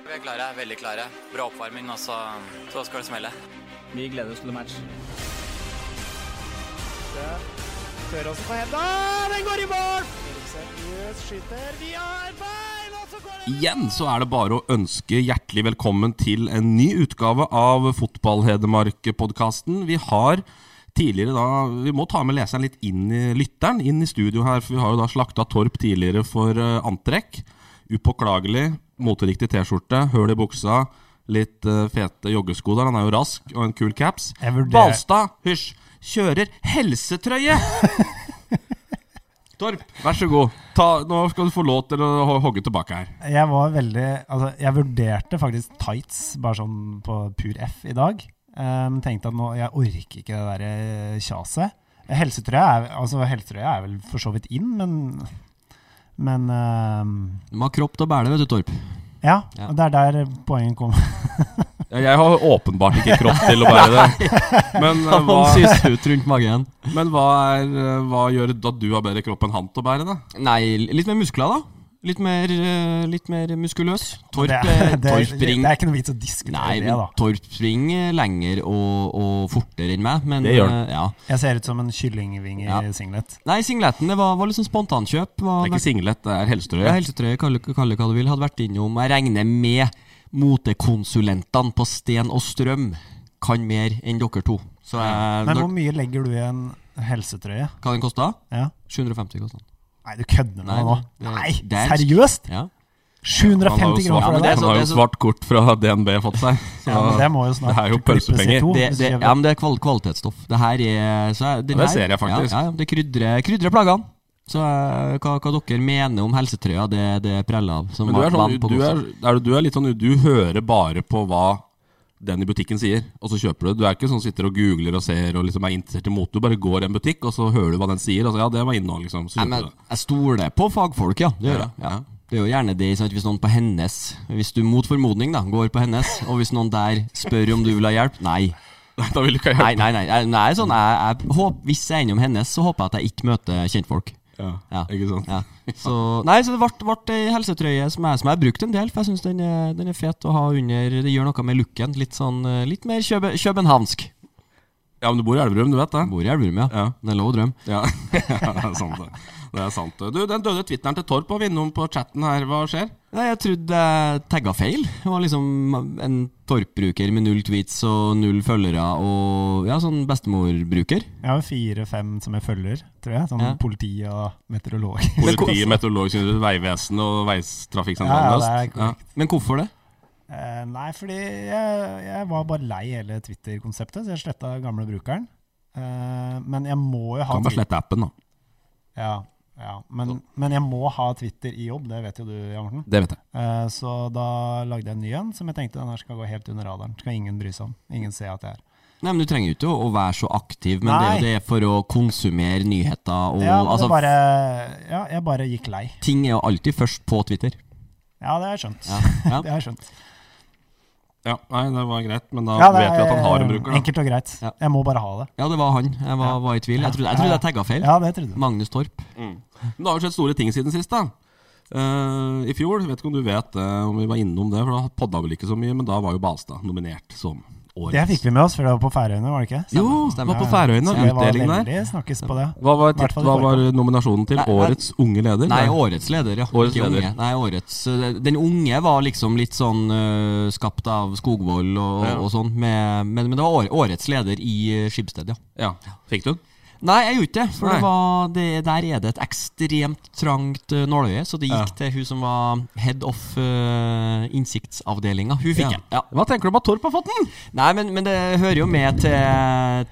Vi er klare, veldig klare. Bra oppvarming, og så, så skal det smelle. Vi gleder oss til match. Igjen så er det bare å ønske hjertelig velkommen til en ny utgave av Fotball-Hedmark-podkasten. Vi har tidligere da Vi må ta med leseren litt inn i lytteren, inn i studio her. For vi har jo da slakta Torp tidligere for eh, antrekk. Upåklagelig, moteriktig T-skjorte, høl i buksa, litt eh, fete joggesko der. Han er jo rask, og en kul caps. Jeg vurderer- Balstad, hysj, kjører helsetrøye! Torp, vær så god. Ta, nå skal du få lov til å ho- hogge tilbake her. Jeg var veldig Altså, jeg vurderte faktisk tights bare sånn på pur F i dag. Ehm, tenkte at nå Jeg orker ikke det derre kjaset. Helsetrøya er, altså, helsetrøya er vel for så vidt inn, men Men ehm, Du må ha kropp til å bære det, vet du, Torp. ja, Ja. det er der poenget kommer. Jeg har åpenbart ikke kropp til å bære det. Men eh, hva, ut rundt magen. men hva, er, eh, hva gjør det at du har bedre kropp enn han til å bære det? Nei, litt mer muskler, da. Litt mer, eh, litt mer muskuløs. Torp, Det, eh, det, det, torp det springer er ikke noe vits å diskutere Nei, det, men da. Torp springer lenger og, og fortere enn meg. Men, Det gjør han. eh, ja. Jeg ser ut som en kyllingvinge Ja. i singlet. Nei, singleten det var, var liksom spontankjøp. Det Var, er ikke singlet, det er helsetrøye. ja, helsetrøye, kall det kall det hva du vil. Hadde vært innom. Jeg regner med motekonsulentene på Sten og Strøm kan mer enn dere to. Så jeg, Men dere- hvor mye legger du i en helsetrøye? hva den kosta? Ja. 750 kosta den. Nei, du kødder med Nei, meg nå. det- Nei, det er- seriøst? Ja. Han har 750 jo kroner svart, for det det er der? han så- har jo det er så- svart kort fra DNB fått seg. Ja, men det må jo snart det er jo klippes i pølsepenger. to, det, hvis det, ikke- ja, men det er kval kvalitetsstoff. Det her er, så Ja, er den det her- ser jeg faktisk. Ja, ja, det krydrer, krydrer plagene. Så eh, hva, hva dere mener om helsetrøya, det, det preller av. som Men du er, sånn, vann på du, godset. er, er, du er litt sånn Du hører bare på hva den i butikken sier, og så kjøper du det. Du er ikke sånn sitter og googler og ser og liksom er interessert i mote. Du bare går i en butikk, og så hører du hva den sier. Og så, ja, det var innhold, liksom. Så Nei, kjøper men du det. jeg stoler på fagfolk, ja. Det gjør Ja, jeg. Ja. Det er jo gjerne det sant, hvis noen på hennes Hvis du mot formodning da går på hennes, og hvis noen der spør om du vil ha hjelp Nei. Nei, da vil du ikke ha Nei, hjelp. nei, nei. Jeg- nei sånn, jeg, jeg håp, hvis jeg er innom hennes, så håper jeg at jeg ikke møter kjentfolk. Ja, Ja. Ikke sant. Ja. Så, nei, så det ble, ble ei helsetrøye som jeg, som jeg har brukt en del, for jeg syns den, er- den er fet å ha under. Det gjør noe med looken. Litt sånn, eh, litt mer kjøbe, københavnsk. ja, men du bor i Elverum, du vet det? Bor i Elverum, ja. Ja. Det er lov å drømme. Ja, det er sant det. Det er sant det. Du, den døde twitteren til Torp var vi innom på chatten her. Hva skjer? Nei, jeg trodde jeg tagga feil. Det var liksom en Torp-bruker med null tweets og null følgere og ja, sånn bestemorbruker. Jeg har jo fire-fem som jeg følger, tror jeg. Sånn Ja. politi og meteorolog. Politiet, Meteorologisk Vegvesen og Ja, ja, Veitrafikksentralen det er Øst. Ja. korrekt. Men hvorfor det? Eh, nei, fordi jeg, jeg var bare lei hele Twitter-konseptet, så jeg sletta gamle brukeren. Eh, men jeg må jo ha Kan bare slette appen, da. Ja, ja. Men, men jeg må ha Twitter i jobb, det vet jo du, Jan Morten. Det vet jeg. Eh, så da lagde jeg en ny en som jeg tenkte den her skal gå helt under radaren. Skal ingen bry seg om. Ingen se at jeg er Nei, men Du trenger jo ikke å å være så aktiv, men Nei. det er jo det for å konsumere nyheter. Og, Ja, Oh, men altså, det bare, ja, jeg bare gikk lei. Ting er jo alltid først på Twitter. Ja, det har jeg skjønt. Ja, ja. Det har jeg skjønt. Ja, nei, det var greit, men da Ja, eh, det vet vi at han har en er bruker. Da. enkelt og greit. Ja. Jeg må bare ha det. Ja, det var han. Jeg var, var i tvil. Jeg trodde jeg, trodde jeg tagga feil. Ja, det trodde jeg. Magnus Torp. Men det har jo skjedd store ting siden sist, da. Eh, I fjor, vet ikke om du vet det, om vi var innom det, for da podda vi vel ikke så mye, men da var jo Balstad nominert som årets. Det fikk vi med oss, for det var på Færøyene, var det ikke? Jo, det var på Færøyene, Det var utdelingen der. veldig snakkes på det. Hva var, Hvertfall i hva var forkant. nominasjonen til? Nei, nei. Årets unge leder? Nei, årets leder, ja. Årets Ikke leder. Unge. Nei, årets, eh, den unge var liksom litt sånn eh, skapt av Skogvold og, Ja. og sånn, med, men, men det var år- årets leder i eh, Skibsted, ja. Ja, Fikk du den? Nei, jeg gjorde ikke det, for Nei. det var, det, der er det et ekstremt trangt eh, nåløye, så det Ja. gikk til hun som var head of uh, innsiktsavdelinga. Hun fikk den. Ja. Hva tenker du om at Torp har fått den? Nei, men, men det hører jo med til,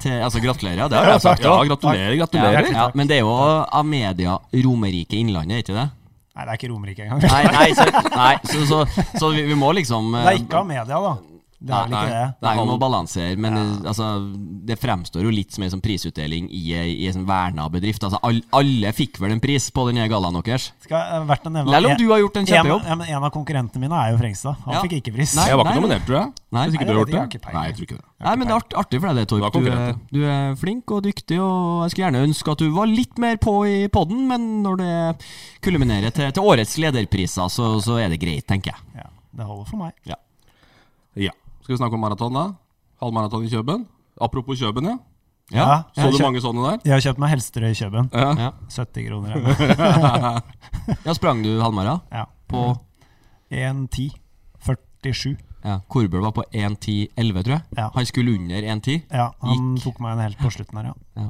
til Altså, gratulerer. Det har jeg sagt. Ja, gratulerer, gratulerer. Ja, men det er jo av media Romerike Innlandet, er ikke det? Nei, det er ikke Romerike engang. Nei, nei, så, nei så, så, så vi, vi må liksom Det er ikke av media, da. Det er vel ikke det. Nei, vi må balansere, men eh, altså, det fremstår jo litt som en sånn prisutdeling i, ei- i en sånn verna bedrift. Altså, all, alle fikk vel en pris på den nye gallaen deres? Skal, det er verdt å nevne Selv om du har gjort en en, kjempejobb. ja, men en av konkurrentene mine er jo Frengstad. Han Ja. fikk ikke pris. Nei. Jeg var ikke nei. nominert, tror jeg. Nei. Hvis Nei, ikke du har jeg gjort vet ikke, jeg det? har ikke Nei, peiling. jeg tror ikke det. Nei, men det er art- artig for deg Du det, er Torp. Du er, konkurrent, du er flink og dyktig, og jeg skulle gjerne ønske at du var litt mer på i podden, men når det kulminerer til, til årets lederpriser, så, så er det greit, tenker jeg. Ja, det holder for meg. Ja. Skal vi snakke om maraton, da? Halvmaraton i Kjøben? Apropos Kjøben, ja. Ja, Ja. Så Jeg du kjøpt- mange sånne der? Jeg har kjøpt meg Helsterød i Kjøben. Ja. 70 kroner. eller noe. ja sprang du halvmara? Ja. På 1,10. 47. ja, Korbøl var på 1.10,11, tror jeg. Ja. Han skulle under 1.10. Ja, han tok meg en helt på slutten her, ja.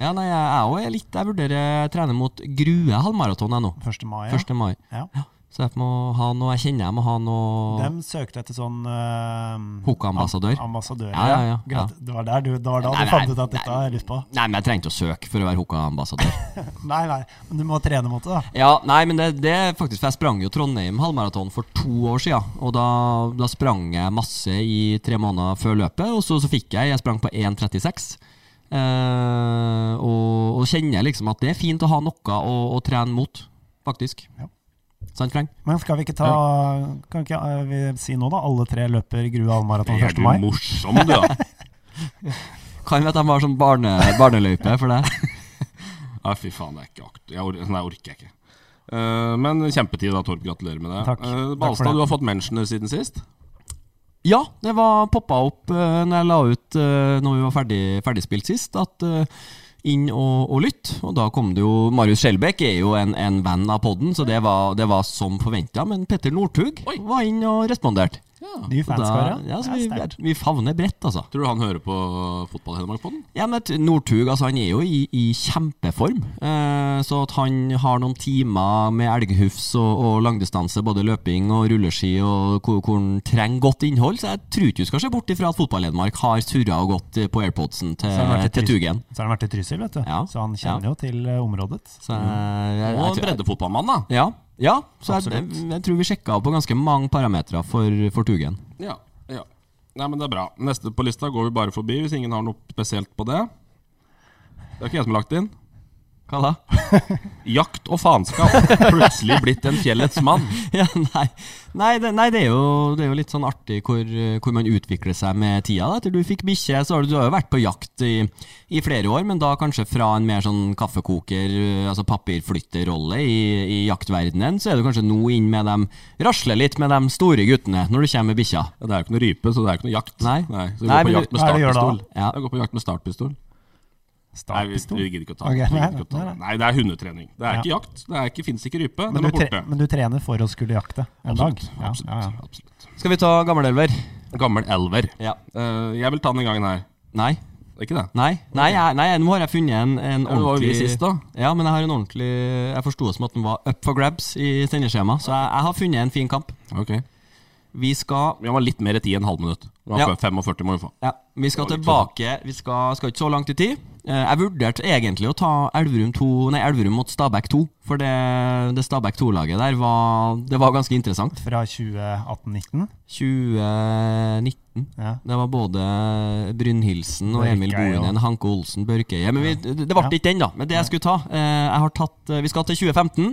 Ja, nei, jeg er også litt Jeg vurderer å trene mot Grue halvmaraton jeg nå. 1. mai. Ja. 1. mai. Ja. Så jeg må ha noe Jeg kjenner jeg må ha noe Dem søkte etter sånn uh, Hoka-ambassadør. Ambassadør, Ja, ja, ja, Greit. ja. Det var der du, det var da du Nei, nei, fant ut at dette nei. har jeg lyst på. Nei, men jeg trengte å søke for å være Hoka-ambassadør. Nei, nei, men du må trene mot det, da. Ja, nei, men det, det er faktisk For jeg sprang jo Trondheim halvmaraton for to år siden. Og da, da sprang jeg masse i tre måneder før løpet, og så, så fikk jeg Jeg sprang på 1,36. Eh, og, og kjenner liksom at det er fint å ha noe å, å trene mot, faktisk. Ja. Sant, Frank? Men skal vi ikke ta Kan ikke eh, vi si nå, da? Alle tre løper Grue halvmaraton Er 1. du mai. morsom, du, da? Kan vet jeg var sånn barne, barneløype for deg. Ja, fy faen, det er ikke akt... Jeg or nei, orker jeg ikke. Eh, men kjempetid da, Torp. Gratulerer med det. Takk. Eh, Takk for Balstad, det. du har fått mentioner siden sist. Ja, det var poppa opp uh, når jeg la ut uh, når vi var ferdig, ferdigspilt sist, at eh, inn og, og lytt. Og da kom det jo Marius Skjelbæk er jo en, en venn av podden, så det var, det var som forventa. Men Petter Northug var inn og responderte. Ny Så da- fanskare. ja, så Ja, vi, sterkt. vi favner bredt, altså. Tror du han hører på Fotball Hedmark på den? Ja, men at Northug altså, han er jo i, i kjempeform. Eh, så at han har noen timer med elghufs og, og langdistanse, både løping og rulleski, og hvor, hvor han trenger godt innhold, så jeg tror ikke du skal se bort ifra at Fotball-Hedmark har surra og gått eh, på airpodsen til, Så har han vært i til Trysil- Tugen. Så har han vært i Trysil, vet du. Ja. Så han kjenner jo til eh, området. Så jeg, jeg, Og jeg, jeg, breddefotballmann, da. ja, ja, så jeg, jeg, Absolutt. jeg tror vi sjekka på ganske mange parametere for, for Tugen. Ja, ja. Nei, men det er bra. Neste på lista går vi bare forbi, hvis ingen har noe spesielt på det. Det er ikke jeg som har lagt det inn. Hva da? Jakt og faenskap. Plutselig blitt en fjellets mann. ja, nei, nei, det, nei det, er jo, det er jo litt sånn artig hvor, eh, hvor man utvikler seg med tida. Da. Etter du fikk bikkje, så har du, du har jo vært på jakt i, i flere år, men da kanskje fra en mer sånn kaffekoker, eh, altså papirflytterrolle i, i jaktverdenen, så er du kanskje nå inn med dem, rasler litt med de store guttene når du kommer med bikkja. Ja, det er jo ikke noe rype, så det er jo ikke noe jakt. Nei. Nei, så vi Nei, går på men jakt med hva er det du gjør da? startpistol. Ja. Jeg går på jakt med startpistol. Nei, vi, Startpistol. vi gidder ikke å ta Ok, det. Vi nei, gidder ikke å ta nei, det. Nei, det er hundetrening. Det er Ja. ikke jakt. Det er ikke, finnes ikke rype. Men Den du, er borte. tre, men du trener for å skulle jakte en dag? Absolutt, Ja, absolutt, ja, ja. absolutt. Skal vi ta gammelelver? Gammel elver. Ja. Eh, jeg vil ta den i gangen her. Nei. Ikke det? Nei, nei, jeg, nei, nå har jeg funnet en, en Ja, det var jo vi ordentlig sist da. Ja, men jeg har en ordentlig Jeg forsto det som at den var up for grabs i sendeskjema, så jeg, jeg har funnet en fin kamp. Ok. Vi skal Vi var litt mer i 10 enn halv minutt. Det var Ja. 45 må vi få. Ja, Vi skal Det var litt tilbake Vi skal, skal ikke så langt i tid. Eh, Jeg vurderte egentlig å ta Elverum, 2, nei, Elverum mot Stabæk 2. For det, det Stabæk 2-laget der var, det var ganske interessant. Fra 2018-19? 2019. Ja. Det var både Brynhildsen og Emil Børkeie, ja. Bohinen, Hanke Olsen, Børkeie Men vi, det ble Ja. ikke den, da. Men det jeg skulle ta eh, jeg har tatt, eh, Vi skal til 2015.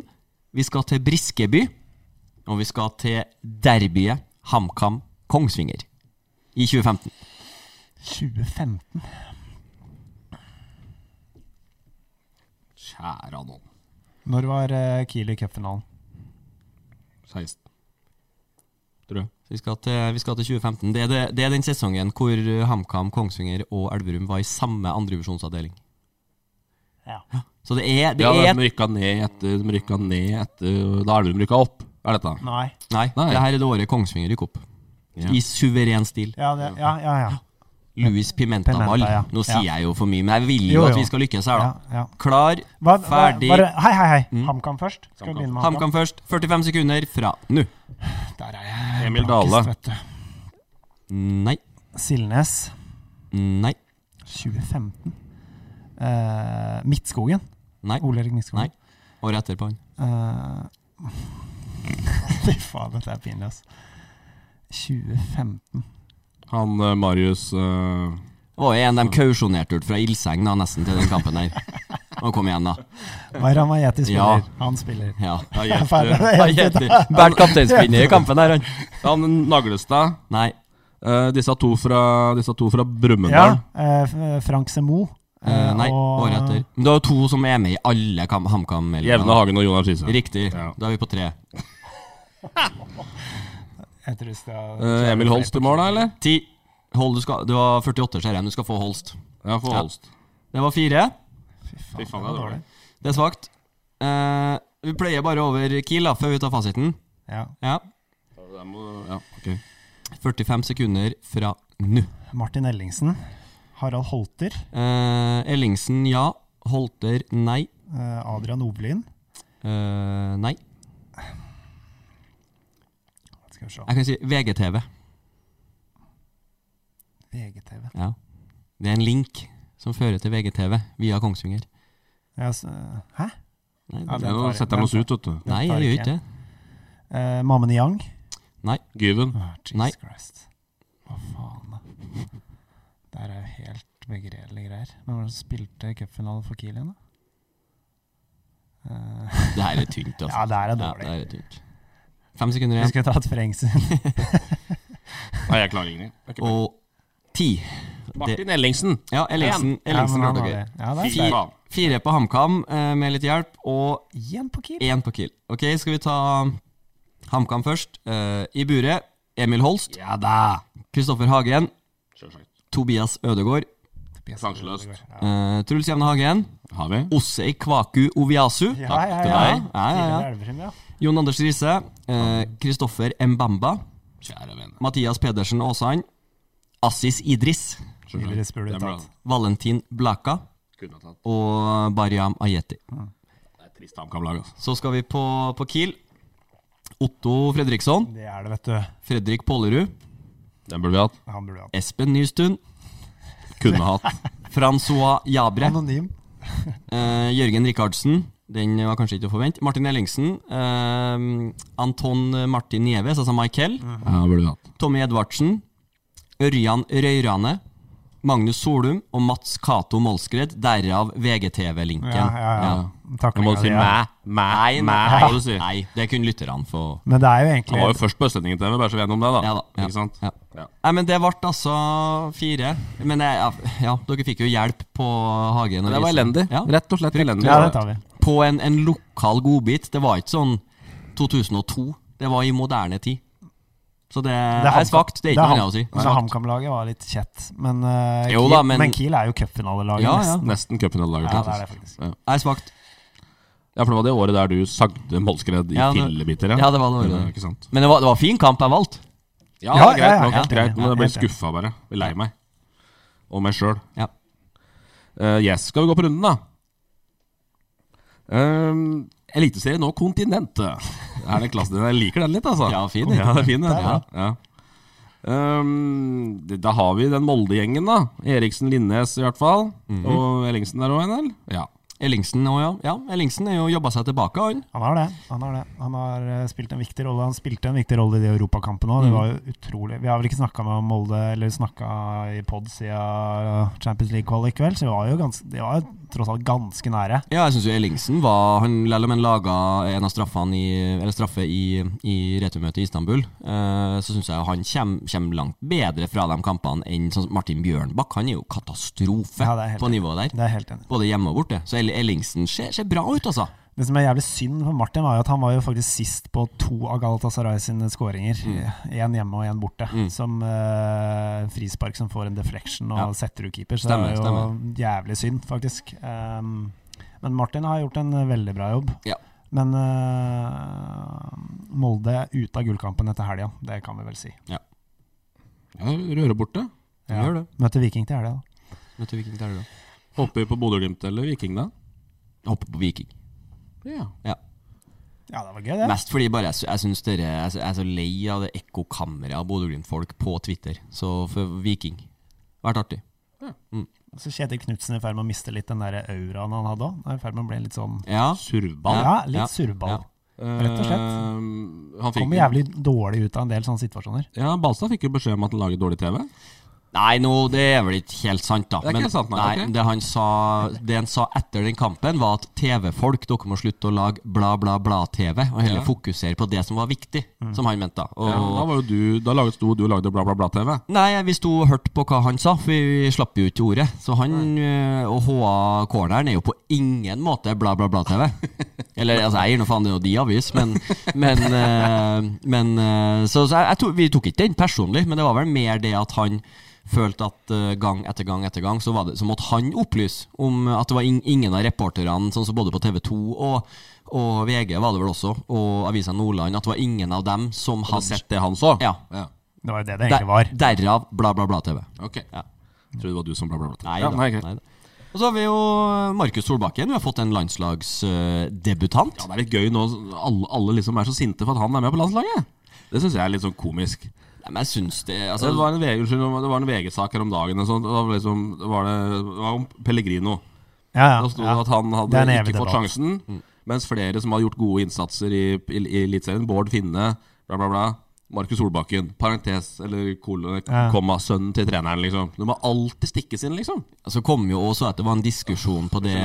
Vi skal til Briskeby. Og vi skal til derbyet HamKam Kongsvinger i 2015. 2015? Kjære noen. Når var eh, Kiel i cupfinalen? 16. Tror jeg. Så vi skal til, vi skal til 2015. Det er, det, det er den sesongen hvor eh, HamKam, Kongsvinger og Elverum var i samme andredivisjonsavdeling. Ja. Så det er, det Ja, er de rykka ned etter De rykka ned etter Da Elverum rykka opp, er dette. Nei. Nei, Nei. det her er det året Kongsvinger gikk opp. I suveren stil. Ja, det, ja, ja. ja. Louis Pimenta Pimenta, Ball. ja. Nå sier Ja. jeg jo for mye, men jeg vil jo, Jo, jo. at vi skal lykkes her, ja, da. ja. Klar, Hva, hva, ferdig. Mm. bare- hei, hei, hei. HamKam først? Skal vi begynne med HamKam? HamKam først. 45 sekunder fra nå. Der er jeg. Emil Dale. Blankest, vet du. Nei. Silnes. Nei. 2015. Eh, Midtskogen. Nei. Ole Erik Midtskogen. Nei. Året etterpå. han. Eh, Fy faen, dette er pinlig, ass. 2015. Han eh, Marius eh, Det var jo en de kausjonerte ut fra ildseng da, nesten til den kampen der. Og kom igjen, da. Varamajeti Ja. spiller. Han spiller. Ja. ja, Faen, det Jette. er helt ut, da. Bært kapteinspinnet i kampen her, han. Han Naglestad. Nei. eh, disse to fra, disse to fra Ja, Brumunddal. eh, F- Frank Semo. Eh, nei, og- året etter. Men det er jo to som er med i alle kam- HamKam-meldingene. Jevne Hagen og Jonas Skise. Riktig. Ja. Da er vi på tre. Jeg tror skal- Eh, Emil Holst i mål, da, eller? Ti. Hold, du, skal, du har 48, ser jeg. Du skal få Holst. Ja, for Ja. Holst. Det var fire. Fy faen, det var dårlig. Det er svakt. Eh, vi pleier bare over Kiel da, før vi tar fasiten. Ja. Ja. Det må- Ja, ok. 45 sekunder fra nå. Martin Ellingsen. Harald Holter. Eh, Ellingsen ja. Holter nei. eh, Adrian Ovelin. Eh, nei. Skal vi se. Jeg kan si VGTV. VGTV. Ja. Det er en link som fører til VGTV via Kongsvinger. Ja, s- eh, hæ? Nei, Ja, den det, tar Nå jeg. setter han oss ut, vet du. nei jeg gjør ikke det. Eh, Mamen Yang. Gyven. Å, Jesus Nei. Christ. Hva faen, da? Det her er jo helt begredelige greier. Men hvordan spilte cupfinalen for Kiel igjen, da? Eh, Det her er tynt, altså. ja, det her er Ja, dårlig. det her er tynt. Fem sekunder Vi igjen. skulle tatt Freng sin. Nei, jeg klarer ingenting. Det er ikke bra. Og ti. Martin Ellingsen. Ja, Ellingsen. Ja, men Ellingsen han klarte har dere. det. Ja, det er Fy sterkt. faen. Fire på HamKam eh, med litt hjelp, og Igjen på Kiel. én på Kiel. Ok, skal vi ta HamKam først. Eh, I buret Emil Holst. Ja da. Kristoffer Hagen. Sjølsagt. Tobias Ødegård. Sanseløst. eh, Truls Jevne Hagen. Har vi? Osei Kwaku Oviasu. Ja, ja, til ja. deg. Ja, ja, ja. Tidligere Elverum, ja. Jon Anders Riise. eh, Kristoffer Mbamba. Kjære vene. Mathias Pedersen Aasand. Assis Idris. Sjølsagt. Idris burde Det er bra. tatt. Valentin Blaka. Kunne ha tatt. Og Bariam Ayeti. Det er trist HamKam-lag, altså. Så skal vi på, på Kiel. Otto Fredriksson. Det er det, vet du. Fredrik Pollerud. Den burde vi hatt. Han burde hatt. Espen Nystuen. Kunne hatt. Francois Jabre. Anonym. Eh, Jørgen Rikardsen. Den var kanskje ikke å forvente. Martin Ellingsen. Eh, Anton Martin Nieves, altså Michael. Ja, burde vi hatt. Tommy Edvardsen. Ørjan Røyrane. Magnus Solum og Mats Cato Molskred, derav VGTV-linken. Ja, ja, ja. Jeg må Taklinga si di, ja. mæ, mæ, Nei, mæ. nei, Hva du sier. nei, det kunne lytterne få Men det er jo Han var jo egentlig først på Østlendingen-TV, bare så vi er enige om det, da. Ja da. Ja. Ikke sant? Ja. Ja. Nei, men det ble altså fire. Men jeg, ja, ja, dere fikk jo hjelp på Hagen. og Det var Riise. elendig. Ja. Rett og slett elendig. Ja, det tar vi. På en, en lokal godbit. Det var ikke sånn 2002. Det var i moderne tid. Så det, ham- er svakt. Det er ikke ham- noe annet å si. Men Svakt. HamKam-laget var litt kjett. Men, eh, Jo Kiel, da, men- men... Kiel er jo cupfinalelaget. Ja, ja. nesten. Nesten cupfinalelaget. Ja, det er det faktisk. Ja. Det er svakt. ja, for det var det året der du sagde Molskred i Ja, det- fillebiter. Ja, det var det året der. Ikke sant? Men det var, det var fin kamp jeg valgte. Ja, Ja, greit ja, ja, nok. helt greit, enig. men jeg ble Helt enig. skuffa bare. Jeg ble Lei meg. Og meg sjøl. Ja. Eh, yes, skal vi gå på runden, da? Um, Eliteserien og kontinentet. Er det klassen din? Jeg liker den litt, altså. Ja, fin, Ja, det er fin den. Ja. Ja. Um, det- da har vi den Molde-gjengen, da. Eriksen, Linnes i hvert fall. Mhm. Og Ellingsen der òg, en del. Ja. Ellingsen òg, ja. ja. Ellingsen er jo jobba seg tilbake, han. Han har det. Han har, det. Han har eh, spilt en viktig rolle. Han spilte en viktig rolle i de europakampene òg. Det var Mm. jo utrolig. Vi har vel ikke snakka med Molde eller snakka i pod siden eh, Champions League-kvalik i kveld, så vi var jo ganske, de var jo tross alt ganske nære. Ja, jeg syns jo Ellingsen var Han lell om han laga en av straffene i, eller straffe i, i returmøtet i Istanbul, eh, så syns jeg han kommer langt bedre fra de kampene enn sånn som Martin Bjørnbakk. Han er jo katastrofe Ja, det er helt på enig. nivået Det der. er jeg helt enig. i. Både hjemme og borte. Så Ell- Ellingsen ser, ser bra ut, altså. Det som er jævlig synd for Martin, var jo at han var jo faktisk sist på to av Galatasaray sine skåringer. Mm. Én hjemme og én borte. Som eh, frispark som får en deflection og Ja. setter ut keeper. Så Stemmer, det er jo stemmer. jævlig synd, faktisk. Um, men Martin har gjort en eh, veldig bra jobb. Ja. Men eh, Molde er ute av gullkampen etter helga, det kan vi vel si. ja Røre borte. Ja. Gjør det. Møter Viking til helga, da. Vet du hvilken det er, da? Hopper vi på Bodø-Glimt eller Viking, da? Hopper på Viking. Ja. Ja, det var gøy, det. Mest fordi bare jeg, sy- jeg syns dere jeg, sy- jeg er så lei av det ekkokammeret av Bodø Glimt-folk på Twitter. Så for Viking vært artig. Så Kjetil Knutsen er i ferd med å miste litt den der auraen han hadde òg. I ferd med å bli litt sånn Ja. Survball. Ja, litt surrball. Rett og slett. Eh, han fikk, Kommer jævlig dårlig ut av en del sånne situasjoner. Ja, Balstad fikk jo beskjed om at han lager dårlig TV. Nei, nå, det er vel ikke helt sant, da. Det er ikke helt sant, nei, ok. det, han sa, det han sa etter den kampen, var at TV-folk, dere må slutte å lage bla, bla, bla-TV, og heller Ja. Mm. fokusere på det som var viktig, som han mente. da. Og, Ja, da var jo du, da laget sto du og lagde bla, bla, bla-TV. Nei, vi sto og hørte på hva han sa, for vi slapp jo ikke ordet. Så han øh, og HA Corneren er jo på ingen måte bla, bla, bla-TV. Eller altså, jeg gir nå faen, det er jo de avis, men, men, øh, men øh, Så, så jeg, jeg tok, vi tok ikke den personlig, men det var vel mer det at han følte at øh, gang etter gang etter gang så, var det, så måtte han opplyse om at det var ing- ingen av reporterne, sånn som både på TV 2 og, og VG var det vel også, og Avisa Nordland, at det var ingen av dem som Hadde hadde sett det han så? Ja. Det var jo det det egentlig var. Derav bla, bla, bla-TV. Ok. Tror det var du som bla, bla, bla. Nei, ja, da. nei, nei greit. da. Og så har vi jo Markus Solbakken. Vi har fått en landslagsdebutant. Ja, det er litt gøy nå. Alle, alle liksom er så sinte for at han er med på landslaget. Det syns jeg er litt sånn komisk. Nei, men jeg syns det altså, Det var en VG unnskyld, det var en VG-sak her om dagen. Og sånt, og da var det liksom, det var det, det var om Pellegrino. Ja, Da sto det ja. at han Det hadde er en evig ikke fått debatt. Mm. sjansen. Mens flere som har gjort gode innsatser i, i, i Eliteserien, Bård Finne, bla, bla, bla. Markus Solbakken, parentes eller kolon, Ja. komma, sønnen til treneren, liksom. Du må alltid stikkes inn, liksom. Så kom jo også at det var en diskusjon på det,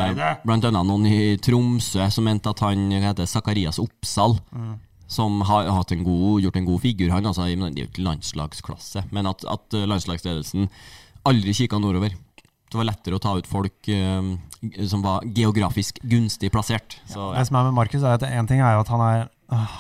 blant annet noen i Tromsø som mente at han hva heter det, Zakarias Oppsal Som har hatt en god, gjort en god figur, han altså. Men det er jo ikke landslagsklasse. Men at, at eh, landslagsledelsen aldri kikka nordover. Det var lettere å ta ut folk eh, som var geografisk gunstig plassert. Så, Det som er med Markus, er at en ting er jo at han er,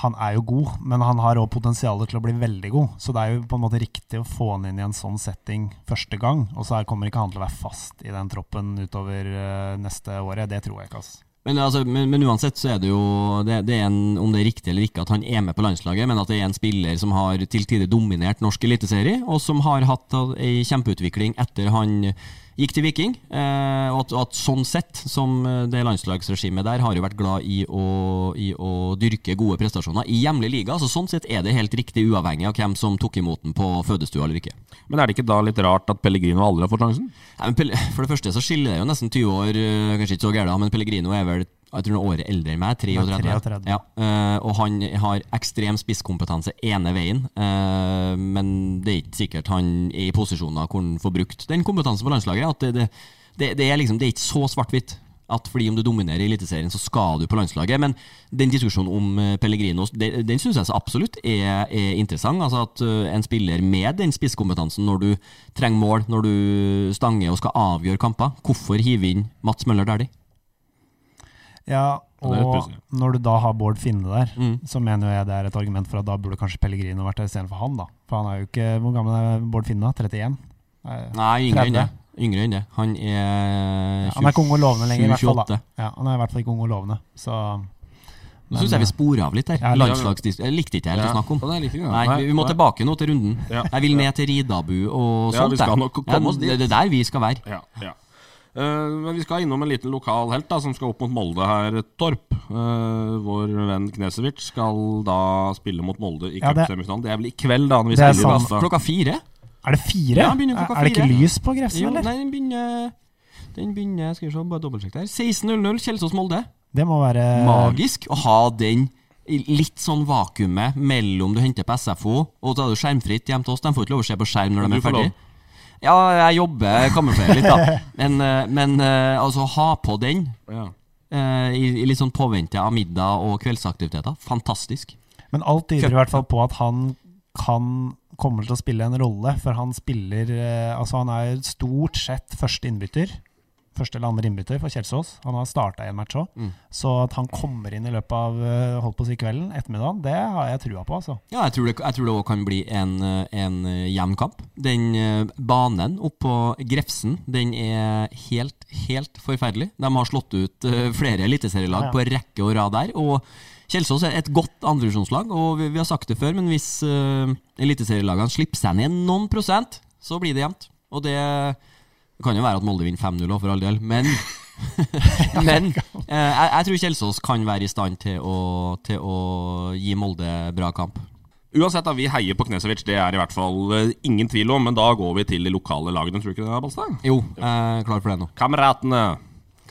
han er jo god, men han har òg potensial til å bli veldig god. Så det er jo på en måte riktig å få han inn i en sånn setting første gang. Og så her kommer ikke han til å være fast i den troppen utover eh, neste året. Det tror jeg ikke, altså. Men, altså, men, men uansett så er det jo det, det er en, Om det er riktig eller ikke at han er med på landslaget, men at det er en spiller som har til tider dominert norsk eliteserie, og som har hatt ei kjempeutvikling etter han gikk til Viking. Eh, og at, at sånn sett, som det landslagsregimet der, har jo vært glad i å, i å dyrke gode prestasjoner i hjemlig liga. Så sånn sett er det helt riktig, uavhengig av hvem som tok imot den på fødestua eller ikke. Men er det ikke da litt rart at Pellegrino aldri har fått sjansen? Nei, men Pelle- for det første så skiller det jo nesten 20 år, øh, kanskje ikke så gærent, men Pellegrino er vel jeg tror han er året eldre enn meg, 33. 33. Ja, øh, og han har ekstrem spisskompetanse ene veien, øh, men det er ikke sikkert han er i posisjoner hvor han får brukt den kompetansen på landslaget. At det, det, det, det, er liksom, det er ikke så svart-hvitt. At fordi om du dominerer i Eliteserien, så skal du på landslaget. Men den diskusjonen om øh, Pellegrino, det- den syns jeg så absolutt er, er interessant. Altså at øh, en spiller med den spisskompetansen, når du trenger mål, når du stanger og skal avgjøre kamper, hvorfor hive inn Mats Møller Dæhlie? Ja, det er litt og pussig. Mm. når du da har Bård Finne der, så mener jo jeg det er et argument for at da burde kanskje Pellegrino vært der istedenfor han, da. For han er jo ikke Hvor gammel er Bård Finne? da? 31? Eh, Nei, yngre enn det. 30. Yngre enn det. Han er Han er ikke ung og lovende lenger, i hvert fall. 28. da Ja, han er i hvert fall ikke ung og lovende, så Nå syns jeg vi sporer av litt der. eh, Ja, det- Landslagsdis... Jeg likte ikke helt Ja. å snakke om. Ja, det likte vi, ja. Nei, vi- vi må Nei. tilbake nå til runden. Ja. Jeg vil ned til Ridabu og sånt. Ja, vi skal jeg. nok komme oss dit. Det det er der vi skal være. Ja, ja. Eh, men vi skal innom en liten lokal helt da, som skal opp mot Molde her, Torp. Eh, vår venn Knesevic skal da spille mot Molde i Ja, det- cupsemifinalen. Det er vel i kveld, da, når vi Det er spiller i sant. Basta. Klokka fire? Er det fire? Ja, han begynner klokka er det ikke fire. lys på Grefsen, Jo, nei, eller? den begynner Den begynner Skal vi se, bare dobbeltsjekke der. 16.00 Kjelsås-Molde. Det må være Magisk å ha den i litt sånn vakuumet mellom du henter på SFO, og så er det skjermfritt hjem til oss. De får ikke lov å se på skjerm når de Du er får lov. ferdig. Ja, jeg jobber, jeg kamuflerer litt, da. Men, eh, men eh, altså, ha på den Ja. eh, i, i litt sånn påvente av middag og kveldsaktiviteter. Fantastisk. Men alt tyder i hvert fall på at han kan kommer til å spille en rolle, for han spiller eh, Altså, han er stort sett første innbytter. Første eller andre innbytter for Kjelsås. Han har starta en match òg. Mm. Så at han kommer inn i løpet av eh, holdt på å si kvelden, ettermiddagen, det har jeg trua på, altså. Ja, jeg tror det jeg tror det også kan bli en, eh, en eh, jevn kamp. Den eh, banen oppå Grefsen, den er helt, helt forferdelig. De har slått ut eh, flere eliteserielag på rekke og rad der. Og Kjelsås er et godt andrevisjonslag, og vi, vi har sagt det før, men hvis eh, eliteserielagene slipper seg ned noen prosent, så blir det jevnt. Og det det kan jo være at Molde vinner 5-0 også, for all del, men Men eh, jeg, jeg tror Kjelsås kan være i stand til å, til å gi Molde bra kamp. Uansett, da, vi heier på Knesevic, det er i hvert fall eh, ingen tvil om. Men da går vi til de lokale lagene, tror du ikke det, er, Balstad? Jo, jeg er klar for det nå. Kameratene.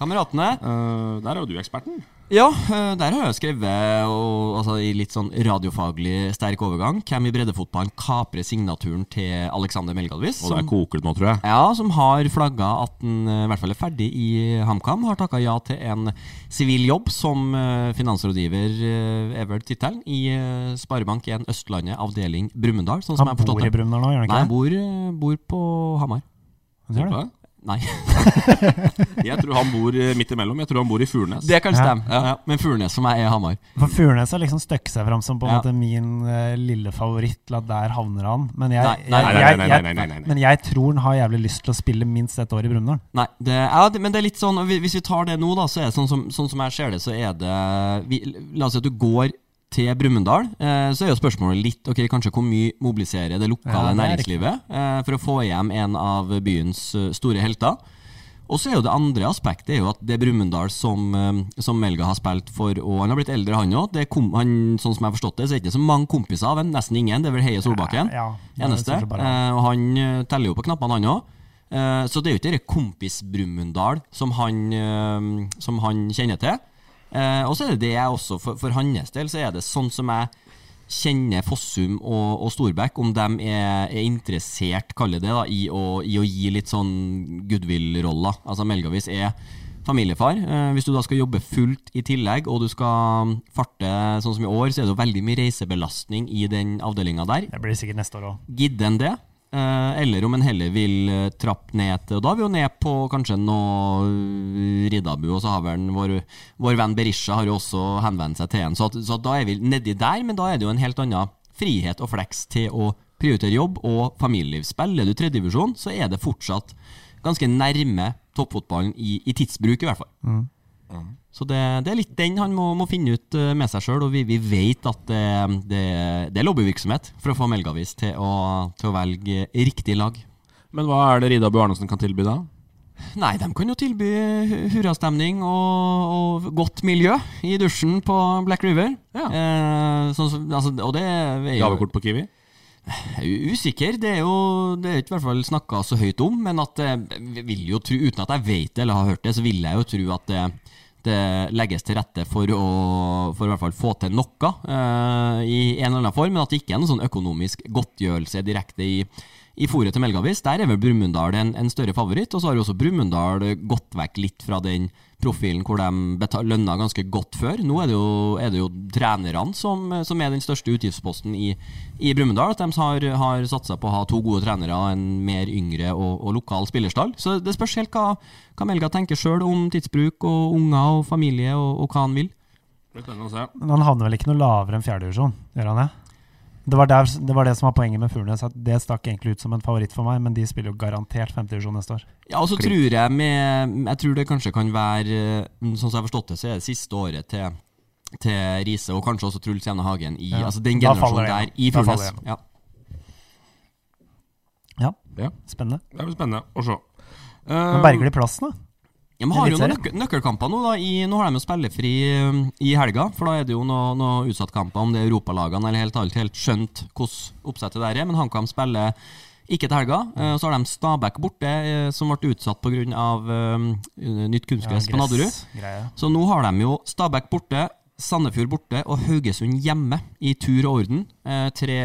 Kameratene. Eh, der er jo du eksperten. Ja, eh, der har jeg skrevet, og, altså, i litt sånn radiofaglig sterk overgang, hvem i breddefotballen kaprer signaturen til Alexander Melgalvis. Og det er koket nå, tror jeg. Ja, som har flagga at den eh, i hvert fall er ferdig i HamKam. Har takka ja til en sivil jobb som eh, finansrådgiver, eh, er vel tittelen, i eh, Sparebank1 Østlandet avdeling Brumunddal. Sånn som Han jeg har forstått bor i det. Brumunddal nå, gjør han Nei, ikke? han bor, eh, bor på Hamar. Han gjør det. Nei, Jeg tror han bor eh, midt imellom. Jeg tror han bor i Furnes. det kan Ja. stemme. Ja. Ja. Men Furnes for meg er Hamar. For Furnes har liksom støkket seg fram som på en Ja. måte min eh, lille favoritt til at der havner han. Men jeg, Nei, jeg- nei, nei, nei, nei, jeg- nei, nei, nei, nei. Men jeg tror han har jævlig lyst til å spille minst ett år i Brumunddal. Nei, det, ja, det, men det er litt sånn hvi- Hvis vi tar det nå, da, så er det sånn som, sånn som jeg ser det, så er det vi, La oss si at du går til Brumunddal, eh, så er jo spørsmålet litt Ok, kanskje hvor mye mobiliserer det lokale Ja, det er næringslivet eh, for å få hjem en av byens eh, store helter? Og så er jo det andre aspektet er jo at det Brumunddal som, eh, som Melga har spilt for, og han har blitt eldre, han òg. Sånn som jeg har forstått det, så er det ikke så mange kompiser av ham. Nesten ingen. Det er vel Heie Solbakken. Ja, ja, eneste. det er kanskje bare Eh, og han eh, teller jo på knappene, han òg. Eh, så det er jo ikke det kompis Brumunddal som, han, eh, som han kjenner til. Eh, og så er det det jeg også, for, for hans del, så er det sånn som jeg kjenner Fossum og, og Storbekk, om de er, er interessert, kaller det, da, i å, i å gi litt sånn goodwill-roller. Altså Melgavis er familiefar. Eh, hvis du da skal jobbe fullt i tillegg, og du skal farte sånn som i år, så er det jo veldig mye reisebelastning i den avdelinga der. Det blir sikkert neste år òg. Gidder en det? Eh, Eller om en heller vil eh, trappe ned til Og da er vi jo ned på kanskje noe eh, Riddabu, og så har vel en vår, vår venn Berisha har jo også henvendt seg til en. Så, at, så at da er vi nedi der, men da er det jo en helt annen frihet og fleks til å prioritere jobb og familieliv. Spiller du tredjedivisjon, så er det fortsatt ganske nærme toppfotballen i, i tidsbruk, i hvert fall. Så det, det er litt den han må, må finne ut eh, med seg sjøl, og vi, vi vet at det, det, det er lobbyvirksomhet for å få Melgavis til å, til å velge riktig lag. Men hva er det Rida Bu Arnesen kan tilby da? Nei, de kan jo tilby hu- hurrastemning og, og godt miljø i dusjen på Black River. Ja. Eh, sånn som- altså, og det er jo Gavekort på Kiwi? Jeg er jo usikker. Det er jo det er ikke i hvert fall snakka så høyt om, men at eh, jeg vil jo tro, uten at jeg vet det eller har hørt det, så vil jeg jo tro at det, det legges til rette for å for i hvert fall få til noe eh, i en eller annen form, men at det ikke er noen sånn økonomisk godtgjørelse direkte i i fôret til Melgavis, der er vel Brumunddal en, en større favoritt. Og så har jo også Brumunddal gått vekk litt fra den profilen hvor de betal, lønna ganske godt før. Nå er det jo, er det jo trenerne som, som er den største utgiftsposten i, i Brumunddal. At de har, har satsa på å ha to gode trenere, en mer yngre og, og lokal spillerstall. Så det spørs helt hva, hva Melga tenker sjøl om tidsbruk og unger og familie og, og hva han vil. Det kan jeg se. Men han havner vel ikke noe lavere enn fjerdedivisjon, gjør han det? Det var, der, det var det som var poenget med Furnes, at det stakk egentlig ut som en favoritt for meg, men de spiller jo garantert femtedivisjon neste år. Ja, og så tror jeg med Jeg tror det kanskje kan være eh, Sånn som jeg har forstått det, så er det siste året til til Riise, og kanskje også Truls Jevne Hagen i Ja. altså den Da faller generasjonen der det i igjennom. Da faller Furnes. det Ja. Ja, Spennende. det blir spennende å se. Men berger de plassen, da? Ja, men har jo noen Eliteserien. nøkkel, nøkkelkamper nå, da. I, nå har de jo spillefri eh, i helga, for da er det jo noen noe utsattkamper, om det er europalagene eller helt alt, helt skjønt hvordan oppsettet der er. Men HamKam spiller ikke til helga. Mm. eh, og så har de Stabæk borte, eh, som ble utsatt pga. Uh, nytt kunstgress på Nadderud. Greie. Så nå har de jo Stabæk borte, Sandefjord borte og Haugesund hjemme i tur og orden. Eh, tre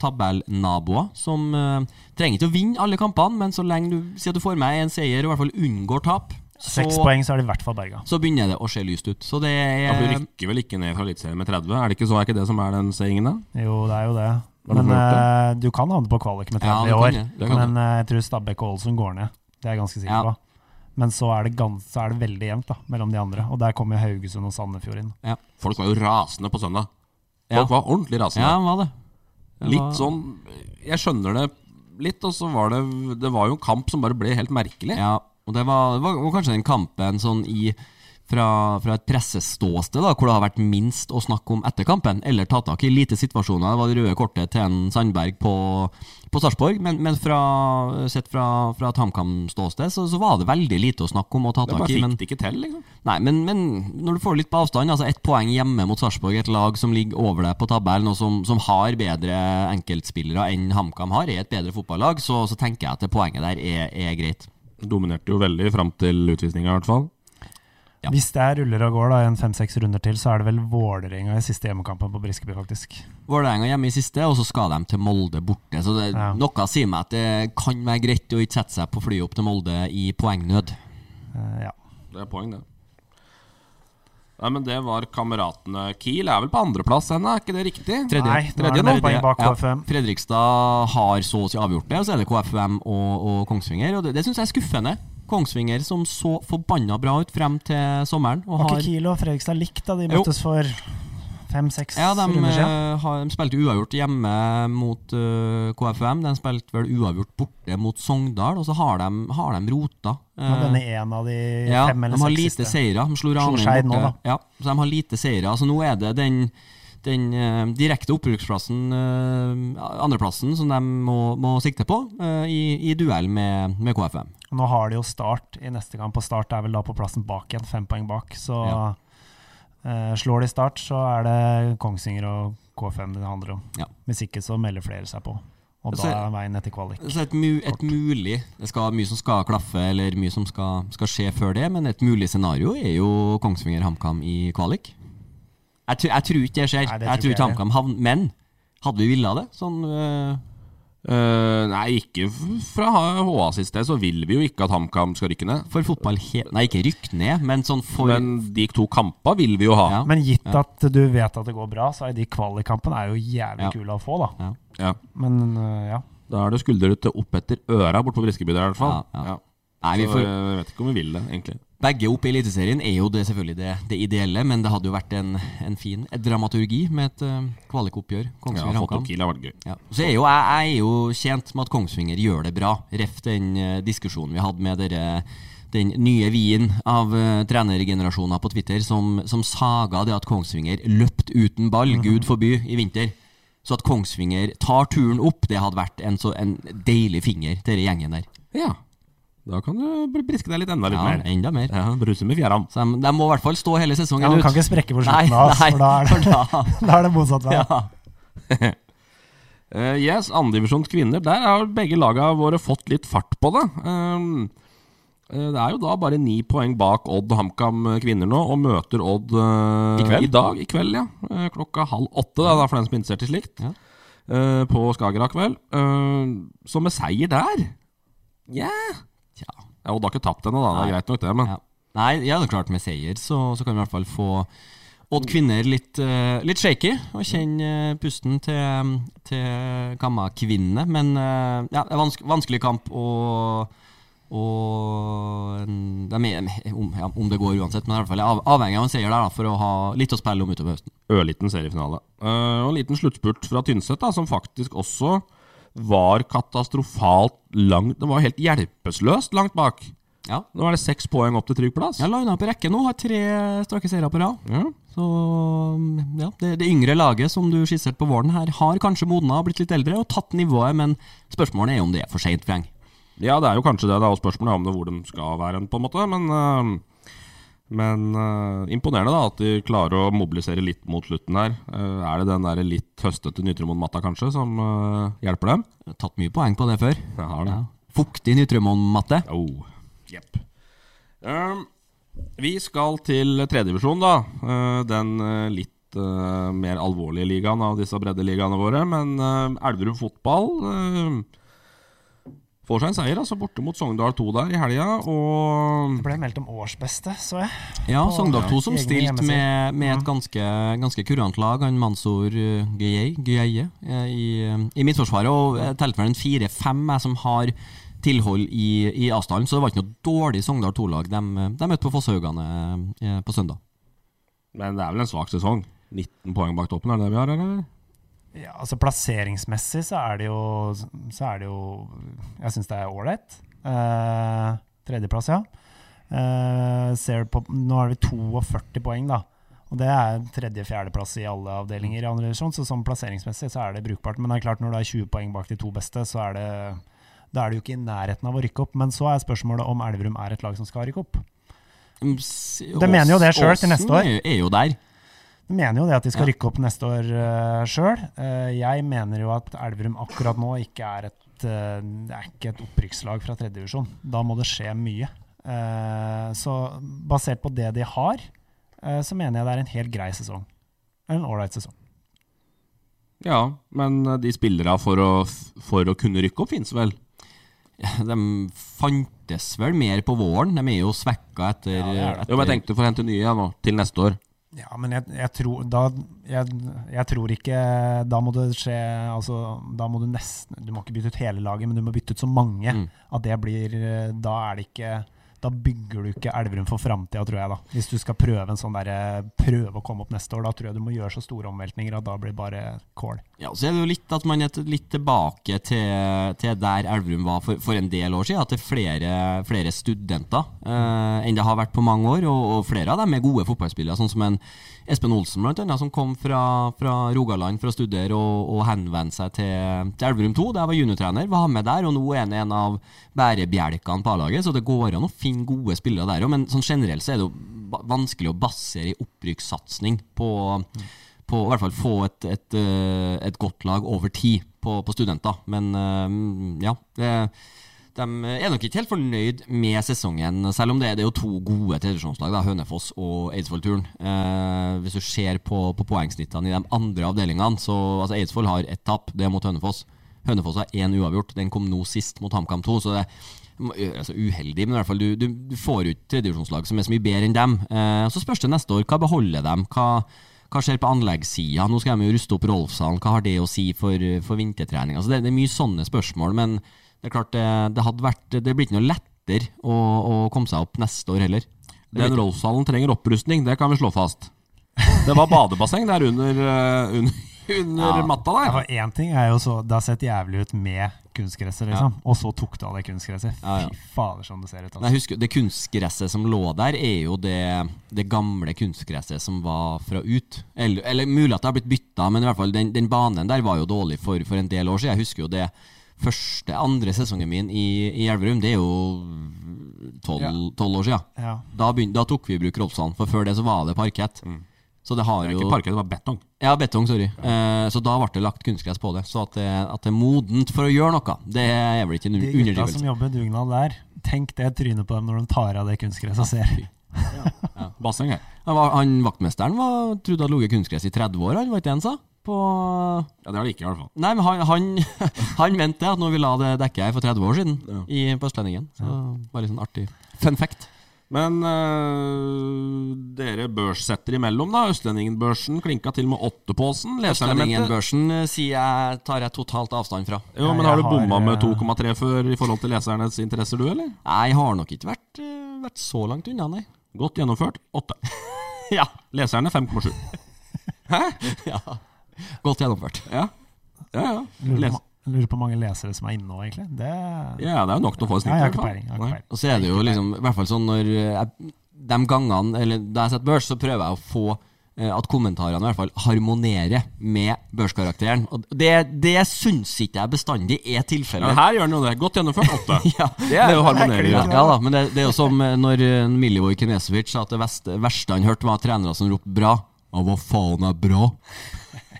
tabellnaboer som eh, trenger ikke å vinne alle kampene, men så lenge du sier at du får med en seier og i hvert fall unngår tap, så, Seks poeng, så er de i hvert fall berga. så begynner det å se lyst ut. Så det Ja, for er Du Eh, rykker vel ikke ned fra Eliteserien med 30? Er det ikke så er ikke det som er den seingen, da? Jo, det er jo det. Har du Men hørt eh, du kan havne på kvalik med Ja, 30 det i kan år. jeg, det kan jeg. Men eh, jeg tror Stabæk og Ålesund går ned. Det er jeg ganske sikker Ja. på. Men så er, det gans, så er det veldig jevnt da, mellom de andre. Og der kommer Haugesund og Sandefjord inn. Folk var jo rasende på søndag. Ja. Folk var ordentlig rasende. Ja, hva det? Det var- Litt sånn Jeg skjønner det litt, og så var det Det var jo en kamp som bare ble helt merkelig. Ja, og det var, det var var kanskje den kampen sånn i fra, fra et presseståsted, da, hvor det har vært minst å snakke om etter kampen, eller ta tak i lite situasjoner. Det var det røde kortet til en Sandberg på, på Sarpsborg, men, men fra, sett fra, fra et HamKam-ståsted så, så var det veldig lite å snakke om og ta Det bare tak i. Men, fikk det ikke til, liksom. Nei, men, men når du får litt på avstand, altså ett poeng hjemme mot Sarpsborg, et lag som ligger over deg på tabellen, og som, som har bedre enkeltspillere enn HamKam har, er et bedre fotballag, så, så tenker jeg at det poenget der er, er greit. Dominerte jo veldig fram til utvisninga, i hvert fall. Ja. Hvis det her ruller og går da, en fem-seks runder til, så er det vel Vålerenga i siste hjemmekampen på Briskeby, faktisk. Vålerenga hjemme i siste, og så skal de til Molde borte. Så det, Ja. noe sier meg at det kan være greit å ikke sette seg på flyet opp til Molde i poengnød. Eh, ja. Det er poeng, det. Nei, men det var kameratene. Kiel er vel på andreplass ennå, er ikke det riktig? Nei, nå er det nå. bare poeng bak Ja, KFUM. Fredrikstad har så å si avgjort det, og så er det KFUM og, og Kongsvinger. Og det, det syns jeg er skuffende. Kongsvinger som så forbanna bra ut frem til sommeren. Og Var har, ikke Kiel og Fredrikstad likt da de Jo. møttes for fem-seks ja, de, runder siden? eh, har, de spilte uavgjort hjemme mot eh, KFUM. De spilte vel uavgjort borte mot Sogndal, og så har de, har de rota. Nå eh, denne en av de Ja, fem de eller har seks lite siste. seire. De slo Slo Ranheim Skeid nå, borte. da. Ja, så de har lite seire. Altså, nå er det den, den eh, direkte opprykksplassen, eh, andreplassen, som de må, må sikte på eh, i, i duell med, med KFM. Nå har de jo Start i neste kamp, og Start er vel da på plassen bak igjen, fem poeng bak. Så Ja. eh, slår de Start, så er det Kongsvinger og K5 det handler om. Ja. Hvis ikke så melder flere seg på, og Så- da er veien etter kvalik. Så et, mu, et mulig Det skal mye som skal klaffe, eller mye som skal, skal skje før det, men et mulig scenario er jo Kongsvinger-HamKam i kvalik. Jeg, tr- jeg tror ikke det skjer. Nei, det jeg tror ikke tror ikke jeg HamKam havn... Men hadde vi villa det? Sånn eh, Eh, nei, ikke f- fra HA sitt sted, så vil vi jo ikke at HamKam skal rykke ned. for fotball helt Nei, ikke rykk ned, men sånn for Men de to kampa vil vi jo ha. Ja. Men gitt at du vet at det går bra, så er de kvalikkampene er jo jævlig Ja. kule å få, da. Ja. Men eh, ja. Da er det skuldre til opp etter øra borte på Briskeby der, i hvert fall. Ja, ja. Ja. Nei, vi Så, får, eh, jeg vet ikke om vi vil det, egentlig. begge opp i Eliteserien er jo det selvfølgelig det, det ideelle, men det hadde jo vært en, en fin dramaturgi med et uh, kvalikoppgjør. Ja, Kongsvinger fått HamKam. opp Kiel har vært gøy. Ja. Så er jo, jeg, jeg er jo tjent med at Kongsvinger gjør det bra, ref den eh, diskusjonen vi hadde med dere, den nye vien av eh, trenergenerasjoner på Twitter som, som saga det at Kongsvinger løpt uten ball, Mhm. gud forby, i vinter. Så at Kongsvinger tar turen opp, det hadde vært en, så, en deilig finger til den gjengen der. Ja. Da kan du br- briske deg litt enda litt Ja, mer. enda mer. Ja, Bruse med fjæra. Så de, de må i hvert fall stå hele sesongen ja man ut. kan ikke sprekke på Nei, slutten av oss, nei, for da er det, da er det motsatt vei. ja. Uh, yes, andredivisjons kvinner. Der har begge laga våre fått litt fart på det. Ehm, eh, det er jo da bare ni poeng bak Odd og HamKam eh, kvinner nå, og møter Odd eh, I kveld? i dag. I kveld, ja. Eh, klokka halv åtte, da, da, for den som er interessert i slikt. Ja. Eh, på Skagerrak, vel. Eh, så med seier der Ja Tja. Ja, Odd har ikke tapt ennå, da. Det er greit nok, det. Men Ja. Nei, ja, det er klart med seier så, så kan vi i hvert fall få Odd kvinner litt, eh, litt shaky, og kjenne eh, pusten til, til Gamma-kvinnene. Men eh, ja, det er vanske, vanskelig kamp, og, og en- de er, om, ja, om det går uansett. Men i hvert fall er av, avhengig av en seier der da, for å ha litt å spille om utover høsten. ørliten seriefinale. Eh, og en liten sluttspurt fra Tynset, da, som faktisk også var katastrofalt langt Det var helt hjelpeløst langt bak. Ja. Nå er det seks poeng opp til trygg plass. Ja, lina opp i rekke nå, har tre strake seire på rad. Ja. Så ja, det, det yngre laget som du skisserte på våren her, har kanskje modna og blitt litt eldre og tatt nivået, men spørsmålet er om det er for seint, Freng. Ja, det er jo kanskje det. Det er jo spørsmålet om det hvor de skal være, på en måte. Men, eh, men eh, imponerende da at de klarer å mobilisere litt mot slutten her. Eh, er det den der litt høstete Nytromon-matta kanskje som eh, hjelper dem? Tatt mye poeng på det før. Jeg har det. Ja. Fuktig Nytrømon-matte. Oh, jepp. Um, vi skal til tredjedivisjon, da. Uh, den uh, litt uh, mer alvorlige ligaen av disse breddeligaene våre. Men uh, Elverum fotball uh, får seg en seier, altså borte mot Sogndal 2 der i helga. Og Det ble meldt om årsbeste, så jeg. Ja, Sogndal 2 som Egne stilte hjemmesider. med, med et ganske, ganske kurant lag, han Mansour eh, Gueye, Gueye eh, i, eh, i Midtforsvaret. Og jeg telte vel en fire-fem jeg som har tilhold i, i avstanden, så det var ikke noe dårlig Sogndal 2-lag de, eh, de møtte på Fosshaugane eh, på søndag. Men det er vel en svak sesong. 19 poeng bak toppen, er det det vi har, eller? Ja, altså Plasseringsmessig så er det jo, så er det jo Jeg syns det er ålreit. Eh, tredjeplass, ja. Eh, ser på, nå har vi 42 poeng, da. Og det er tredje-fjerdeplass i alle avdelinger i andre divisjon, så sånn plasseringsmessig så er det brukbart. Men det er klart når du er 20 poeng bak de to beste, så er det da er du jo ikke i nærheten av å rykke opp. Men så er spørsmålet om Elverum er et lag som skal rykke opp. De De mener jo det selv til neste år. Er jo, er jo der. De mener jo det at de skal rykke opp neste år uh, sjøl. jeg mener jo at Elverum akkurat nå ikke er et, eh, det er ikke et opprykkslag fra tredjedivisjon. Da må det skje mye. Eh, Eh, så basert på det de har, eh, så mener jeg det er en helt grei sesong. En ålreit sesong. Ja, men eh, de spillere for å, for å kunne rykke opp finnes vel? De fantes vel mer på våren. De er jo svekka etter, etter Jo, men jeg tenkte for å hente nye nå, til neste år. Ja, men jeg, jeg, tror, da, jeg, jeg tror ikke Da må det skje altså, Da må du nesten Du må ikke bytte ut hele laget, men du må bytte ut så mange Mm. at det blir eh, Da er det ikke da bygger du ikke Elverum for framtida, tror jeg. da. Hvis du skal prøve en sånn der, eh, prøve å komme opp neste år, da tror jeg du må gjøre så store omveltninger at da blir det bare kål. Ja, så er det jo litt at man er t- litt tilbake til, til der Elverum var for, for en del år siden. At det er flere, flere studenter eh, enn det har vært på mange år. Og, og flere av dem er gode fotballspillere, sånn som en Espen Olsen blant annet, som kom fra, fra Rogaland for å studere og, og henvendte seg til, til Elverum 2. Der var juniortrener, var med der, og nå er han en av bærebjelkene på A-laget. Så det går an å finne gode spillere der òg, men sånn generelt så er det jo ba- vanskelig å basere en opprykkssatsing på på å i hvert fall få et, et, eh, et godt lag over tid på, på studenter. Men eh, ja, det, de er nok ikke helt fornøyd med sesongen, selv om det, det er jo to gode tredjesjonslag, da, Hønefoss og Eidsvoll-turen. Eh, hvis du ser på, på poengsnittene i de andre avdelingene, så altså Eidsvoll har ett tap, det er mot Hønefoss. Hønefoss har én uavgjort, den kom nå sist mot HamKam 2, så det er altså uheldig, men i hvert fall du, du, du får ut tredjevisjonslag som er så mye bedre enn dem. Eh, så spørs det neste år, hva beholder dem? Hva, hva skjer på anleggssida? Nå skal de jo ruste opp Rolfshallen, hva har det å si for, for vintertrening? Altså det, det er mye sånne spørsmål, men det er klart det, det hadde vært Det blir ikke noe lettere å, å komme seg opp neste år heller. Det Den blir- Rolfshallen trenger opprustning, det kan vi slå fast. Det var badebasseng der under, eh, under, under Ja. matta Ja, der. for Én ting er jo så Det har sett jævlig ut med kunstgresset, liksom. Og så tok du av det kunstgresset. Fy Ja, ja. fader, som det ser ut. altså. Men jeg husker, Det kunstgresset som lå der, er jo det, det gamle kunstgresset som var fra ut. Eller, eller mulig at det har blitt bytta, men i hvert fall den, den banen der var jo dårlig for, for en del år siden. Jeg husker jo det første, andre sesongen min i, i Elverum. Det er jo tolv tolv år siden. Ja. Da, begyn- da tok vi i bruk Rolfsand, for før det så var det parkett. Så det har Mm. Det er jo ikke parkett, det var betong. ja, betong, sorry. Eh, så da ble det lagt kunstgress på det. Så at det, at det er modent for å gjøre noe, det er vel ikke en De gutta underdrivelse. som jobber dugnad der, tenk det trynet på dem når de tar av det kunstgresset og ser. Basseng her. Han, var, han vaktmesteren var, trodde hadde ligget kunstgress i 30 år, han var ikke det han sa? På Ja, det har det ikke, i hvert fall. Nei, men han, han, han mente at når vi la det dekke her for 30 år siden, i, på Østlendingen. Så bare litt sånn artig fun fact. Men øh, dere børssetter imellom, da. Østlendingen-børsen klinka til med åttepåsen. Leseelementet Østlendingen-børsen eh, sier jeg tar jeg totalt avstand fra. Jo, men Ja, jeg har du har, bomma med eh, 2,3 før i forhold til lesernes interesser, du, eller? Jeg har nok ikke vært, eh, vært så langt unna, nei. Godt gjennomført. Åtte. Ja. Leserne 5,7. ja. Godt gjennomført. Ja. ja, ja. Lurer Les. på, lurer på hvor mange lesere som er inne nå, egentlig. Det, ja, sånn. Ja, det er jo nok til å få et snitt. i jeg har hvert ikke fall. peiling. Jeg har ikke Nei. peiling. Og så er det jo liksom, i hvert fall sånn når eh, jeg, de gangene, eller da jeg setter børs, så prøver jeg å få eh, at kommentarene i hvert fall harmonerer med børskarakteren. Og det, det syns ikke jeg bestandig er Ja, tilfellet. her gjør den jo det. Godt gjennomført. Åtte. Ja. Det er jo harmonering. Ja, Ja. ja da, men det, det er jo som eh, når eh, Milivoj Kinesovic sa at det verste, verste han hørte, var trenere som ropte 'bra'. Og hva faen er bra?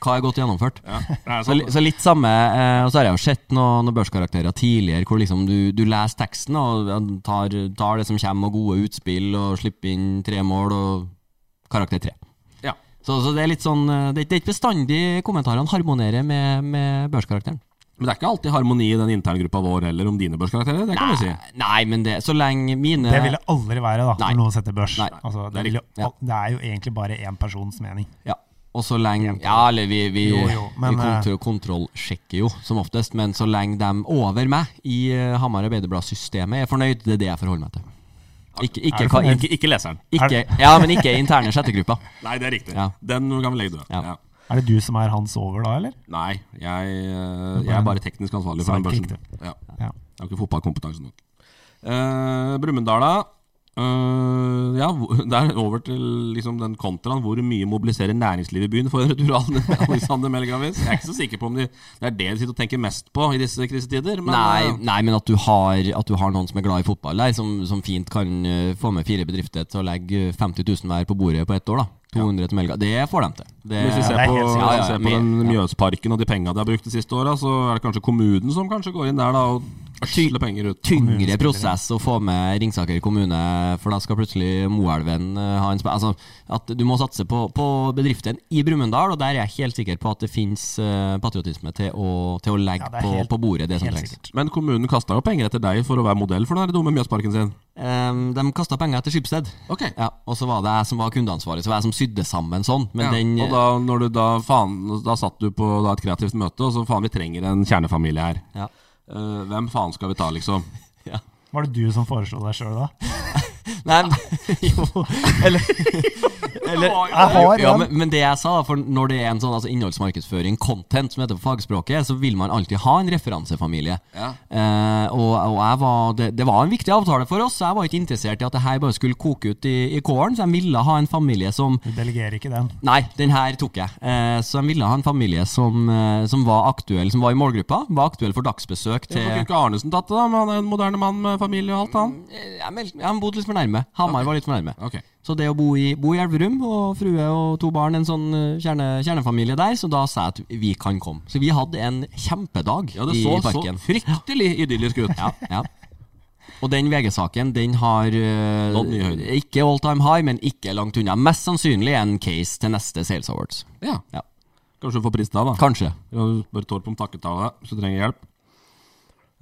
Hva er godt gjennomført? Det er Så, sant. li- så litt samme, eh, og så har jeg jo sett noen noe børskarakterer tidligere hvor liksom du, du leser teksten og ja, tar, tar det som kommer og gode utspill og slipper inn tre mål og karakter tre. Ja. Så, så det er litt sånn, eh, det, er ikke- det er ikke bestandig kommentarene harmonerer med, med børskarakteren. Men det er ikke alltid harmoni i den interngruppa vår heller om dine børskarakterer. Det kan vi si. Nei, men det, så lenge mine det vil det aldri være da, Nei. når noen setter børs. Nei. Altså, det, Det er vil, jo- riktig, ja. al- det er jo egentlig bare én persons mening. Ja, og så lenge Ja, eller vi, vi, Jo, jo, men, vi eh, kontro, kontrollsjekker jo som oftest, men så lenge de over meg i eh, Hamar Arbeiderblad-systemet er fornøyd, det er det jeg forholder meg til. Ikke, Er du ikke, hva- fornøyd? Ikke, ikke leseren. Er ikke, ja, men ikke interne sjettegrupper. Nei, det er riktig. Ja. Den kan vi legge død. Ja. Ja. Er det du som er hans over da, eller? Nei, jeg, eh, jeg er bare teknisk ansvarlig for den Svært børsen. flink, Ja. Ja. Jeg har ikke fotballkompetanse nok. Uh, Brumunddala. eh, ja, hvor- der over til liksom, den kontraen. Hvor mye mobiliserer næringslivet i byen for en retur av Alexander Melgavis? Jeg er ikke så sikker på om de, det er det de sitter og tenker mest på i disse krisetider. Men, Nei, eh, nei, men at du, har, at du har noen som er glad i fotball der, som, som fint kan eh, få med fire bedrifter til å legge 50 000 hver på bordet på ett år. da 200 til Melga. Det får de til. Det, Hvis vi ser det er på, helt sikkert. hvis vi Ja, ja, ser på mer, den ja. Mjøsparken og de penga de har brukt de siste åra, så er det kanskje kommunen som kanskje går inn der da og Ødsle penger ut. tyngre prosess å få med Ringsaker kommune, for da skal plutselig Moelven eh, ha en spe... Altså, at du må satse på, på bedriften i Brumunddal, og der er jeg helt sikker på at det fins patriotisme til å, til å legge Ja, det er på, helt- på bordet det som helt trengs. sikkert. Men kommunen kasta jo penger etter deg for å være modell for den her dumme Mjøsparken sin. Ehm, de kasta penger etter Skipsted, Ok. ja, og så var det jeg som var kundeansvarlig, så var jeg som sydde sammen sånn. Men Ja, den og da, når du da, faen, da satt du på da, et kreativt møte, og så faen, vi trenger en kjernefamilie her. Ja. Eh, hvem faen skal vi ta, liksom? Var det du som foreslo deg sjøl da? Nei, Ah. men- jo, eller, eller Jeg har ja, en. men, men det jeg sa, for når det er en sånn altså innholdsmarkedsføring, content, som heter på fagspråket, så vil man alltid ha en referansefamilie. Ja. Eh, og og jeg var, det, det var en viktig avtale for oss, så jeg var ikke interessert i at det her bare skulle koke ut i, i kålen, så jeg ville ha en familie som Du delegerer ikke den. Nei, den her tok jeg. Eh, så jeg ville ha en familie som, eh, som var aktuell, som var i målgruppa, var aktuell for dagsbesøk til Kunne ikke Arnesen tatt det, da? Men han er jo en moderne mann med familie og alt, han. Eh, Jeg meld- jeg har bodd litt for nærme. Hamar var litt for nærme. Ok. Så det å bo i, bo i Elverum, og frue og to barn, en sånn eh, kjerne, kjernefamilie der, så da sa jeg at vi kan komme. Så vi hadde en kjempedag Ja, det i, så i så parken. fryktelig idyllisk ut. Ja, ja. Og den VG-saken, den har eh, Nådd nye høyder. ikke all time high, men ikke langt unna. Mest sannsynlig en case til neste Sales Awards. Ja. Ja. Kanskje du får pris da, da. Kanskje. Ja, du Bare tår på om takketale, hvis du trenger hjelp.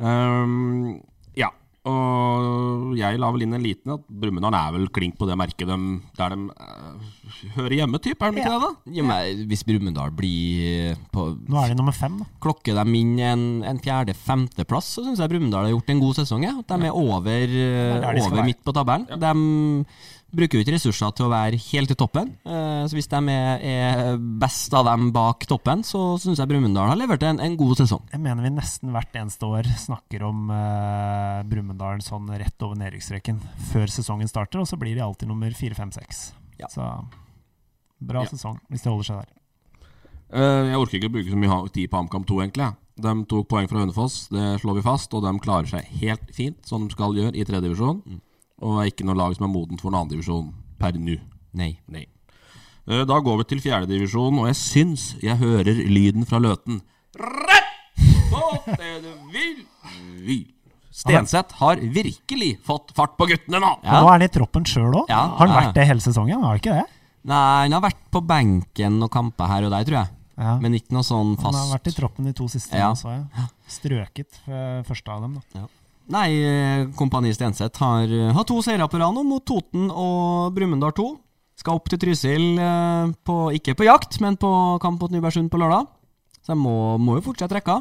Ehm, ja. Og jeg la vel inn en liten at Brumunddal er vel klink på det merket de, der de eh, hører hjemme, typ, er de ikke det? da? Ja, men hvis Brumunddal blir eh, på Nå er de nummer fem, da. klokke dem inn en, en fjerde-femteplass, så syns jeg Brumunddal har gjort en god sesong. Ja. At de er over, eh, der de skal over være. midt på tabellen. De bruker jo ikke ressurser til å være helt i toppen. eh, Så hvis de er, er best av dem bak toppen, så syns jeg Brumunddal har levert en, en god sesong. Jeg mener vi nesten hvert eneste år snakker om uh, Brumunddal sånn rett over nedrykksstreken før sesongen starter, og så blir de alltid nummer fire, fem, seks. Ja. Så bra Ja. sesong, hvis de holder seg der. Eh, jeg orker ikke å bruke så mye ha- tid på HamKam 2, egentlig. jeg. De tok poeng fra Hønefoss, det slår vi fast, og de klarer seg helt fint, som de skal gjøre i tredje divisjon. Og er ikke noe lag som er modent for en annen divisjon per nå. Nei. Nei. Eh, Da går vi til fjerde divisjon, og jeg syns jeg hører lyden fra Løten. Rett på det du vil! vil. Stenseth har virkelig fått fart på guttene nå! Ja. Og nå er han i troppen sjøl òg. Ja, har han ja, ja. vært det hele sesongen? Har han ikke det? Nei, han har vært på benken og kampa her og der, tror jeg. Ja. Men ikke noe sånn Han har fast vært i troppen de to siste, ja. Ja. så jeg. Strøket eh, første av dem, da. Nei, eh, Kompani Stenseth har, eh, har to seire på rad nå, mot Toten og Brumunddal 2. Skal opp til Trysil, eh, på, ikke på jakt, men på kamp mot Nybergsund på lørdag. Så de må, må jo fortsette rekka.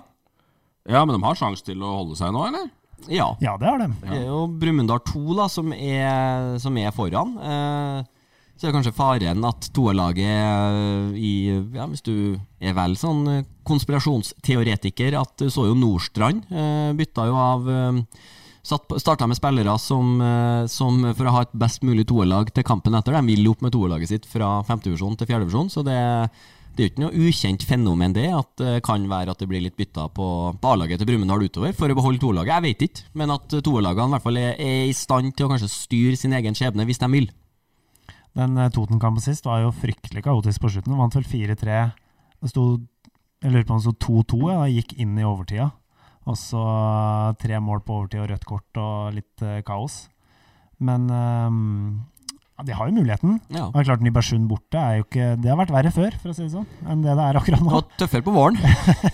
Ja, men de har sjanse til å holde seg nå, eller? Ja. Ja, det har de. Det er jo Brumunddal 2 da, som er, som er foran. Eh, så er det kanskje faren at toerlaget eh, i ja, Hvis du er vel sånn eh, konspirasjonsteoretiker, at du så jo Nordstrand eh, bytta jo av eh, satt på- Starta med spillere som, eh, som for å ha et best mulig toerlag til kampen etter. De vil jo opp med toerlaget sitt fra femtedivisjon til fjerdedivisjon, så det, det er jo ikke noe ukjent fenomen, det. At det kan være at det blir litt bytta på, på A-laget til Brumunddal utover for å beholde toerlaget. Jeg vet ikke, men at toerlagene i hvert fall er, er i stand til å kanskje styre sin egen skjebne hvis de vil. Den eh, Toten-kampen sist var jo fryktelig kaotisk på slutten. Vant vel 4-3. Det sto Jeg lurer på om det sto 2-2, ja, og gikk inn i overtida. Og så eh, tre mål på overtid og rødt kort og litt eh, kaos. Men eh, ja, de har jo muligheten. Ja. Og det er klart Nybergsund borte er jo ikke Det har vært verre før, for å si det sånn, enn det det er akkurat nå. Og tøffere på våren.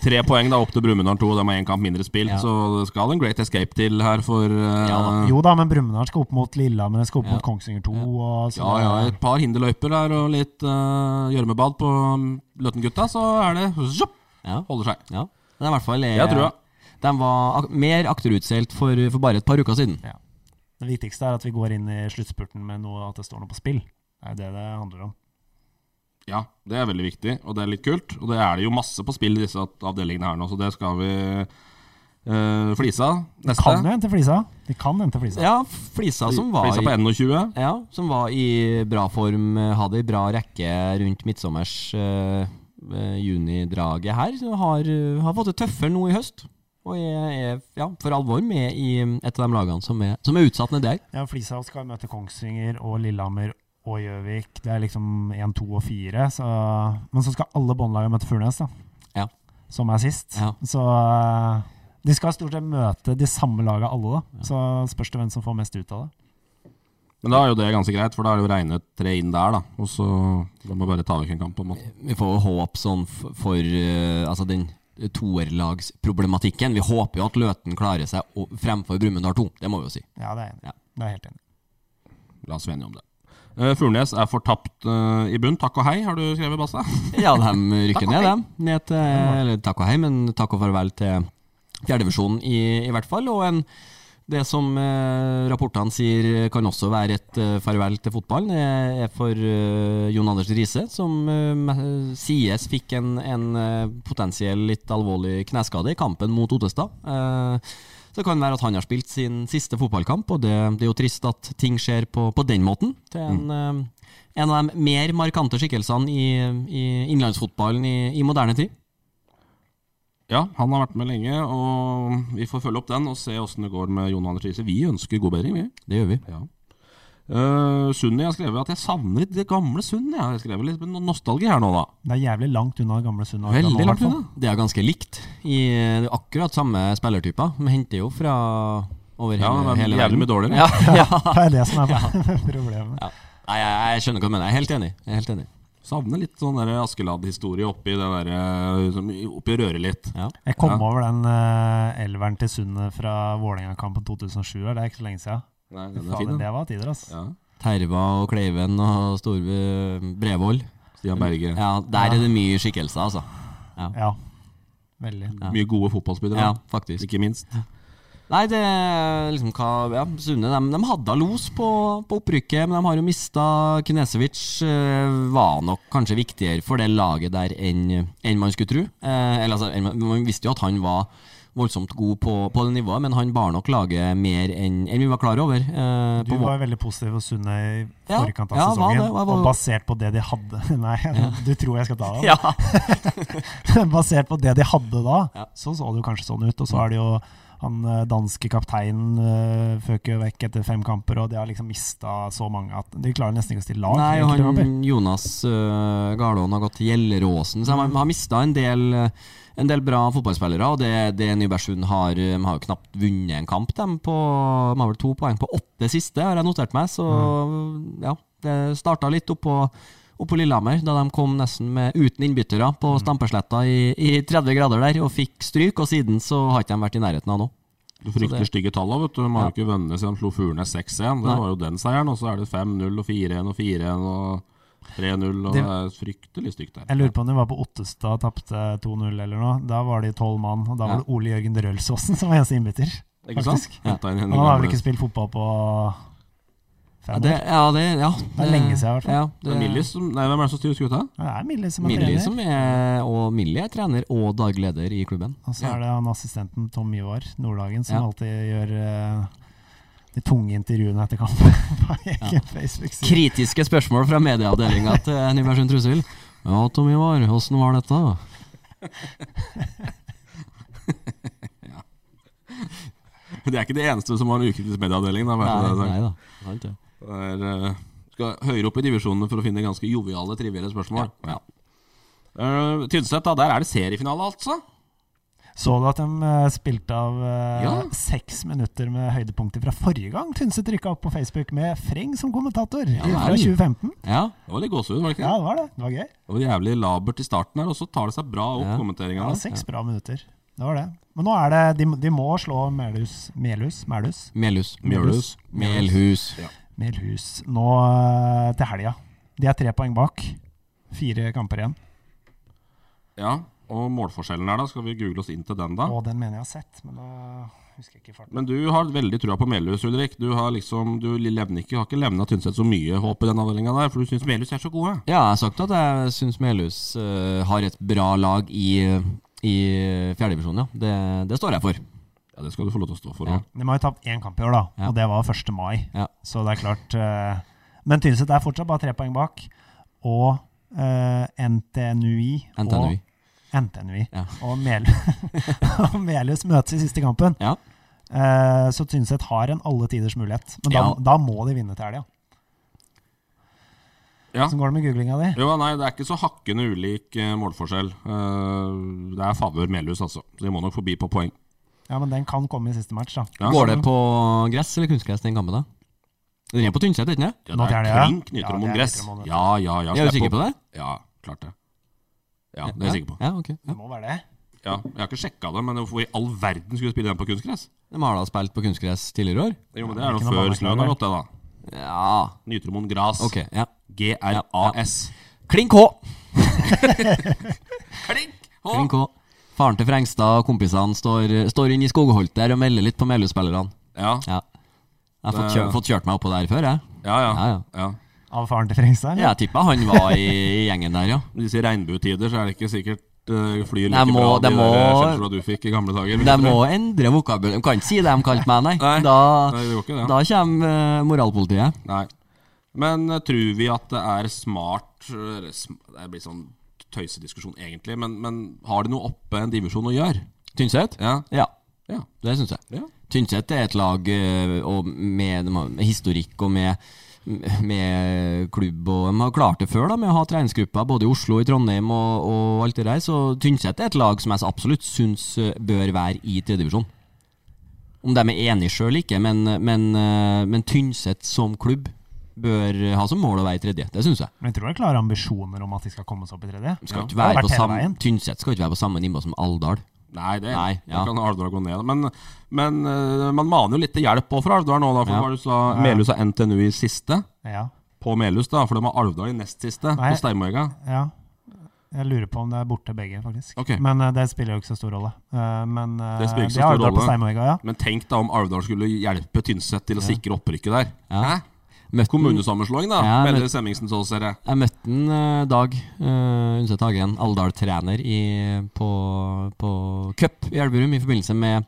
Tre poeng da opp til Brumunddal 2, og de har én kamp mindre spilt, Ja. så det skal en great escape til her for eh, Ja da. Jo da, men Brumunddal skal opp mot Lillehammer, de skal opp Ja. mot Kongsvinger 2 og så Ja, ja, et par hinderløyper der og litt eh, gjørmebad på mm, Løten-gutta, så er det zjopp, Ja. holder seg. Ja. Men i hvert fall er, Jeg tror det. De var ak mer akterutseilt for, for bare et par uker siden. Det viktigste er at vi går inn i sluttspurten med noe, at det står noe på spill. Det er jo det det handler om. Ja, det er veldig viktig, og det er litt kult. Og det er det jo masse på spill i disse avdelingene her nå, så det skal vi eh, flise av. Neste. Kan jo hente flisa. De kan hente flisa. Ja, Flisa som var Flise i på NO20. Ja, som var i bra form, eh, hadde i bra rekke rundt midtsommers eh, eh, junidraget her. så Har, eh, har fått det tøffere nå i høst. Og er, er ja, for alvor med i mm, et av de lagene som er, som er utsatt nedi der. Ja, flisa skal møte Kongsvinger og Lillehammer og Gjøvik. Det er liksom 1, 2 og 4. Så... Men så skal alle båndlagene møte Furnes, da. Ja. Som er sist. Ja. Så eh, De skal stort sett møte de samme laga alle, da. Så spørs det hvem som får mest ut av det. Men da er jo det ganske greit, for da er det jo reine tre inn der, da. Og så da må bare ta vekk en kamp, på en måte. Vi får jo håp sånn f- for eh, altså den toerlagsproblematikken. Vi håper jo at Løten klarer seg og- fremfor Brumunddal 2, det må vi jo si. Ja, det er jeg enig. i. Ja. Det er jeg helt enig. i. La oss være enige om det. Eh, Furnes er fortapt eh, i bunn. Takk og hei, har du skrevet, Basse? Ja, de rykker ned, dem. Ned til, eller takk og hei, men takk og farvel til fjerdedivisjonen i, i hvert fall. Og en, det som eh, rapportene sier kan også være et eh, farvel til fotballen, er, er for eh, Jon Anders Riise, som eh, me- sies fikk en, en eh, potensiell litt alvorlig kneskade i kampen mot Ottestad. Eh, så det kan være at han har spilt sin siste fotballkamp, og det, det er jo trist at ting skjer på, på den måten. Til en, eh, en av de mer markante skikkelsene i, i innlandsfotballen i, i moderne tid. Ja, han har vært med lenge, og vi får følge opp den og se åssen det går med Jon Anders Riise. Vi ønsker god bedring, vi. Det gjør vi. Ja. Eh, Sunni har skrevet at jeg savner det gamle Sunni. Jeg har skrevet litt no- nostalgi her nå, da. Det er jævlig langt unna gamle Sunna. Arendal nå, Veldig i langt hvert fall. unna. Det er ganske likt. I, det er akkurat samme spillertyper. De henter jo fra over hele, Ja, men hele jævlig verden. mye dårligere. Ja, ja. Det er det som er problemet. Nei, jeg, jeg skjønner hva du mener. Jeg er helt enig. Jeg er helt enig. Savner litt sånn der Askeladd-historie oppi, det der, eh, som- oppi røret litt. Ja. Jeg kom Ja. over den eh, elveren til Sundet fra Vålerenga-kampen 2007. her, Det er ikke så lenge siden. Nei, den er Faen, fin, den. det var tider, altså. Ja. Terva og Kleiven og Storbe Brevold. Stian Berge. Ja, der er det mye skikkelser, altså. Ja. Veldig. Mye gode fotballspillere, Ja, da. faktisk. ikke minst. Nei, det er liksom hva Ja, Sunne de, de hadde los på, på opprykket, men de har jo mista Knesevic. eh, Var nok kanskje viktigere for det laget der enn enn man skulle tro. Eh, eller altså, enn man- Man visste jo at han var voldsomt god på, på det nivået, men han bar nok laget mer enn enn vi var klar over. eh, Du på vår- var veldig positiv og sunne i Ja, forkant av ja, var sesongen. det, var- var- Og basert på det de hadde Nei, du tror jeg skal ta det? ja. basert på det de hadde da, Ja. så så det jo kanskje sånn ut. Og så er det jo han eh, danske kapteinen eh, føk jo vekk etter fem kamper, og de har liksom mista så mange at de klarer nesten ikke å stille lag. Nei, i og enkelte kamper. han Jonas uh, Garlån har gått til Gjelleråsen, så han har mista en del en del bra fotballspillere, og det, det Nybergsund har eh, De har jo knapt vunnet en kamp, dem. På, de har vel to poeng på åtte siste, har jeg notert meg. Så Mm. ja, det starta litt oppå, oppå Lillehammer, da de kom nesten med, uten innbyttere Mm. på Stampesletta i, i 30 grader der, og fikk stryk. Og siden så har ikke de vært i nærheten av noe. Du frykter det- stygge tall òg, vet du. De har jo ikke vunnet siden de slo Furnes 6-1. Det Nei. var jo den seieren. Og så er det 5-0 og 4-1 og 4-1 og 3-0. Og det Det- er fryktelig stygt der. Jeg lurer på om de var på Ottestad og tapte 2-0 eller noe. Da var de tolv mann, og da var Ja. det Ole Jørgen Drølsåsen som var eneste innbytter. Ikke sant? faktisk. Hentet inn Og Henning Han har vel Gamle. ikke spilt fotball på Ja, fem det, år. ja, det, ja, Det er lenge siden, i hvert fall. Ja, Det er Millie som Nei, hvem er det som styrer skuta? Ja, Det er Millie som er Millie trener. som er, og Millie er trener og daglig leder i klubben. Og så er det han assistenten Tom Ivar Nordhagen som Ja. alltid gjør eh, de tunge intervjuene etter kampen på egen Facebook-side. Kritiske spørsmål fra medieavdelinga til Nybergsund Trussel. Ja, Tom Ivar, åssen var dette? Det er ikke det eneste som har en ukritisk medieavdeling. Da, bare for Nei, det, nei er da. Sant det. sagt. Det er, eh, skal høyere opp i divisjonene for å finne ganske joviale, trivielle spørsmål. Ja. Eh, Tynset, da, der er det seriefinale, altså. Så du at de eh, spilte av eh, Ja. seks minutter med høydepunkter fra forrige gang Tynset rykka opp på Facebook med Freng som kommentator fra vel. 2015? Ja, Det var litt gåsehud, var det ikke? Ja, det var det. Det var gøy. Det var jævlig labert i starten her, og så tar det seg bra opp, Ja. kommenteringa. Ja, der. seks bra minutter. Det var det. Men nå er det De, de må slå Melhus Melhus? Melhus? Melhus. Melhus. Melhus. Melhus nå eh, til helga. De er tre poeng bak. Fire kamper igjen. Ja, og målforskjellen her, da. Skal vi google oss inn til den, da? Og den mener jeg har sett, men da husker jeg ikke farten. Men du har veldig trua på Melhus, Ulrik. Du har liksom, du levner ikke, har ikke levna Tynset så mye håp i den avdelinga der, for du syns Melhus er så gode. Ja, jeg har sagt at jeg syns Melhus eh, har et bra lag i, i fjerdedivisjon, ja. Det, det står jeg for. Ja, det skal du få lov til å stå for òg. De har jo tapt én kamp i år, da, Ja. og det var 1. mai. Ja. Så det er klart eh, Men Tynset er fortsatt bare tre poeng bak. Og eh, NTNUI, og NTNUI. NTNUI Ja. og, Mel og Melhus møtes i siste kampen. Ja. Eh, så Tynset har en alle tiders mulighet. Men da, Ja. da må de vinne til helga. Ja. Hvordan går det med googlinga di? Jo, nei, det er ikke så hakkende ulik eh, målforskjell. Eh, det er favør Melhus, altså. Så de må nok forbi på poeng. Ja, men den kan komme i siste match, da. Ja. Går det på gress eller kunstgress, den kampen, da? Den er på Tynset, er den ikke det? Ja, Nå det er er det, ja. klink Ja, nyter om det er gress. nyter om det. Ja, ja, ja. Er du slipp sikker på det? Ja, klart det. Ja, det er jeg sikker på. Ja, ok. Ja. Det må være det. Ja, jeg har ikke sjekka det, men hvorfor i all verden skulle vi spille den på kunstgress? De har da spilt på kunstgress tidligere i år? Jo, men Det er Ikke jo noe før vanlig snøen klager. har gått, det, da. Ja, Nytromon Gras. ok. ja. GRAS. Klink H! Klink! Å! Klink H. Faren til Frengstad og kompisene står, står inne i skogholt der og melder litt på Melhus-spillerne. Ja, Ja. Jeg har fått Det- kjørt, fått kjørt meg oppå der før, jeg. ja. ja, Ja, ja. ja. Av faren til Frengstad? eller? Jeg tippa han var i, i gjengen der, ja. I disse regnbuetider så er det ikke sikkert eh, flyr Nei, like bra, eh, må- de der det må- skjellsordene du fikk i gamle dager. vil De jeg må tro. endre vokabulen. De kan ikke si det de kalte meg, nei. Nei. Da, Nei, det går ikke, det. da kommer eh, moralpolitiet. Nei. Men eh, tror vi at det er smart eller sm- Det blir sånn tøysediskusjon, egentlig, men, men har det noe oppe en divisjon å gjøre? Tynset? Ja. Ja, ja. det syns jeg. Ja. Tynset er et lag eh, og med, de har- med historikk og med, med klubb. Og de har klart det før da, med å ha treningsgrupper både i Oslo, i Trondheim og, og alt det der. Så Tynset er et lag som jeg absolutt syns bør være i tredjedivisjon. Om de er enige sjøl ikke, men, men, eh, men Tynset som klubb bør ha som mål å være i tredje. Det syns jeg. Men jeg tror det er klare ambisjoner om at de skal komme seg opp i tredje. De Skal Ja. ikke Det har være vært på hele samme, veien. Tynset skal ikke være på samme nivå som Alvdal. Nei, det, Nei, ja. det kan Alvdal gå ned. Men, men eh, man maner jo litt til hjelp også fra Alvdal nå, da, for Ja. hva var det du sa Melhus har NTNU i siste. Ja. På Melhus, da, for de har Alvdal i nest siste, Nei. på Steinmøyga. ja. Jeg lurer på om det er borte begge, faktisk. Ok. Men eh, det spiller jo ikke så stor rolle. Eh, men eh, Det spiller ikke så de har stor Alvdal på rolle. Steinmorga, ja. Men tenk da om Alvdal skulle hjelpe Tynset til å sikre opprykket der. Ja. Hæ? Møtte den- Kommunesammenslåing, da, Ja, men- melder Semmingsen så, ser jeg. Jeg møtte en eh, Dag uh, Undset Hagen, Alvdal-trener i- på, på cup i Elverum i forbindelse med,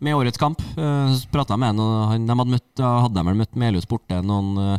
med årets kamp. Uh, Prata med han, og han de hadde, møtt, da hadde de vel møtt Melhus borte noen, eh,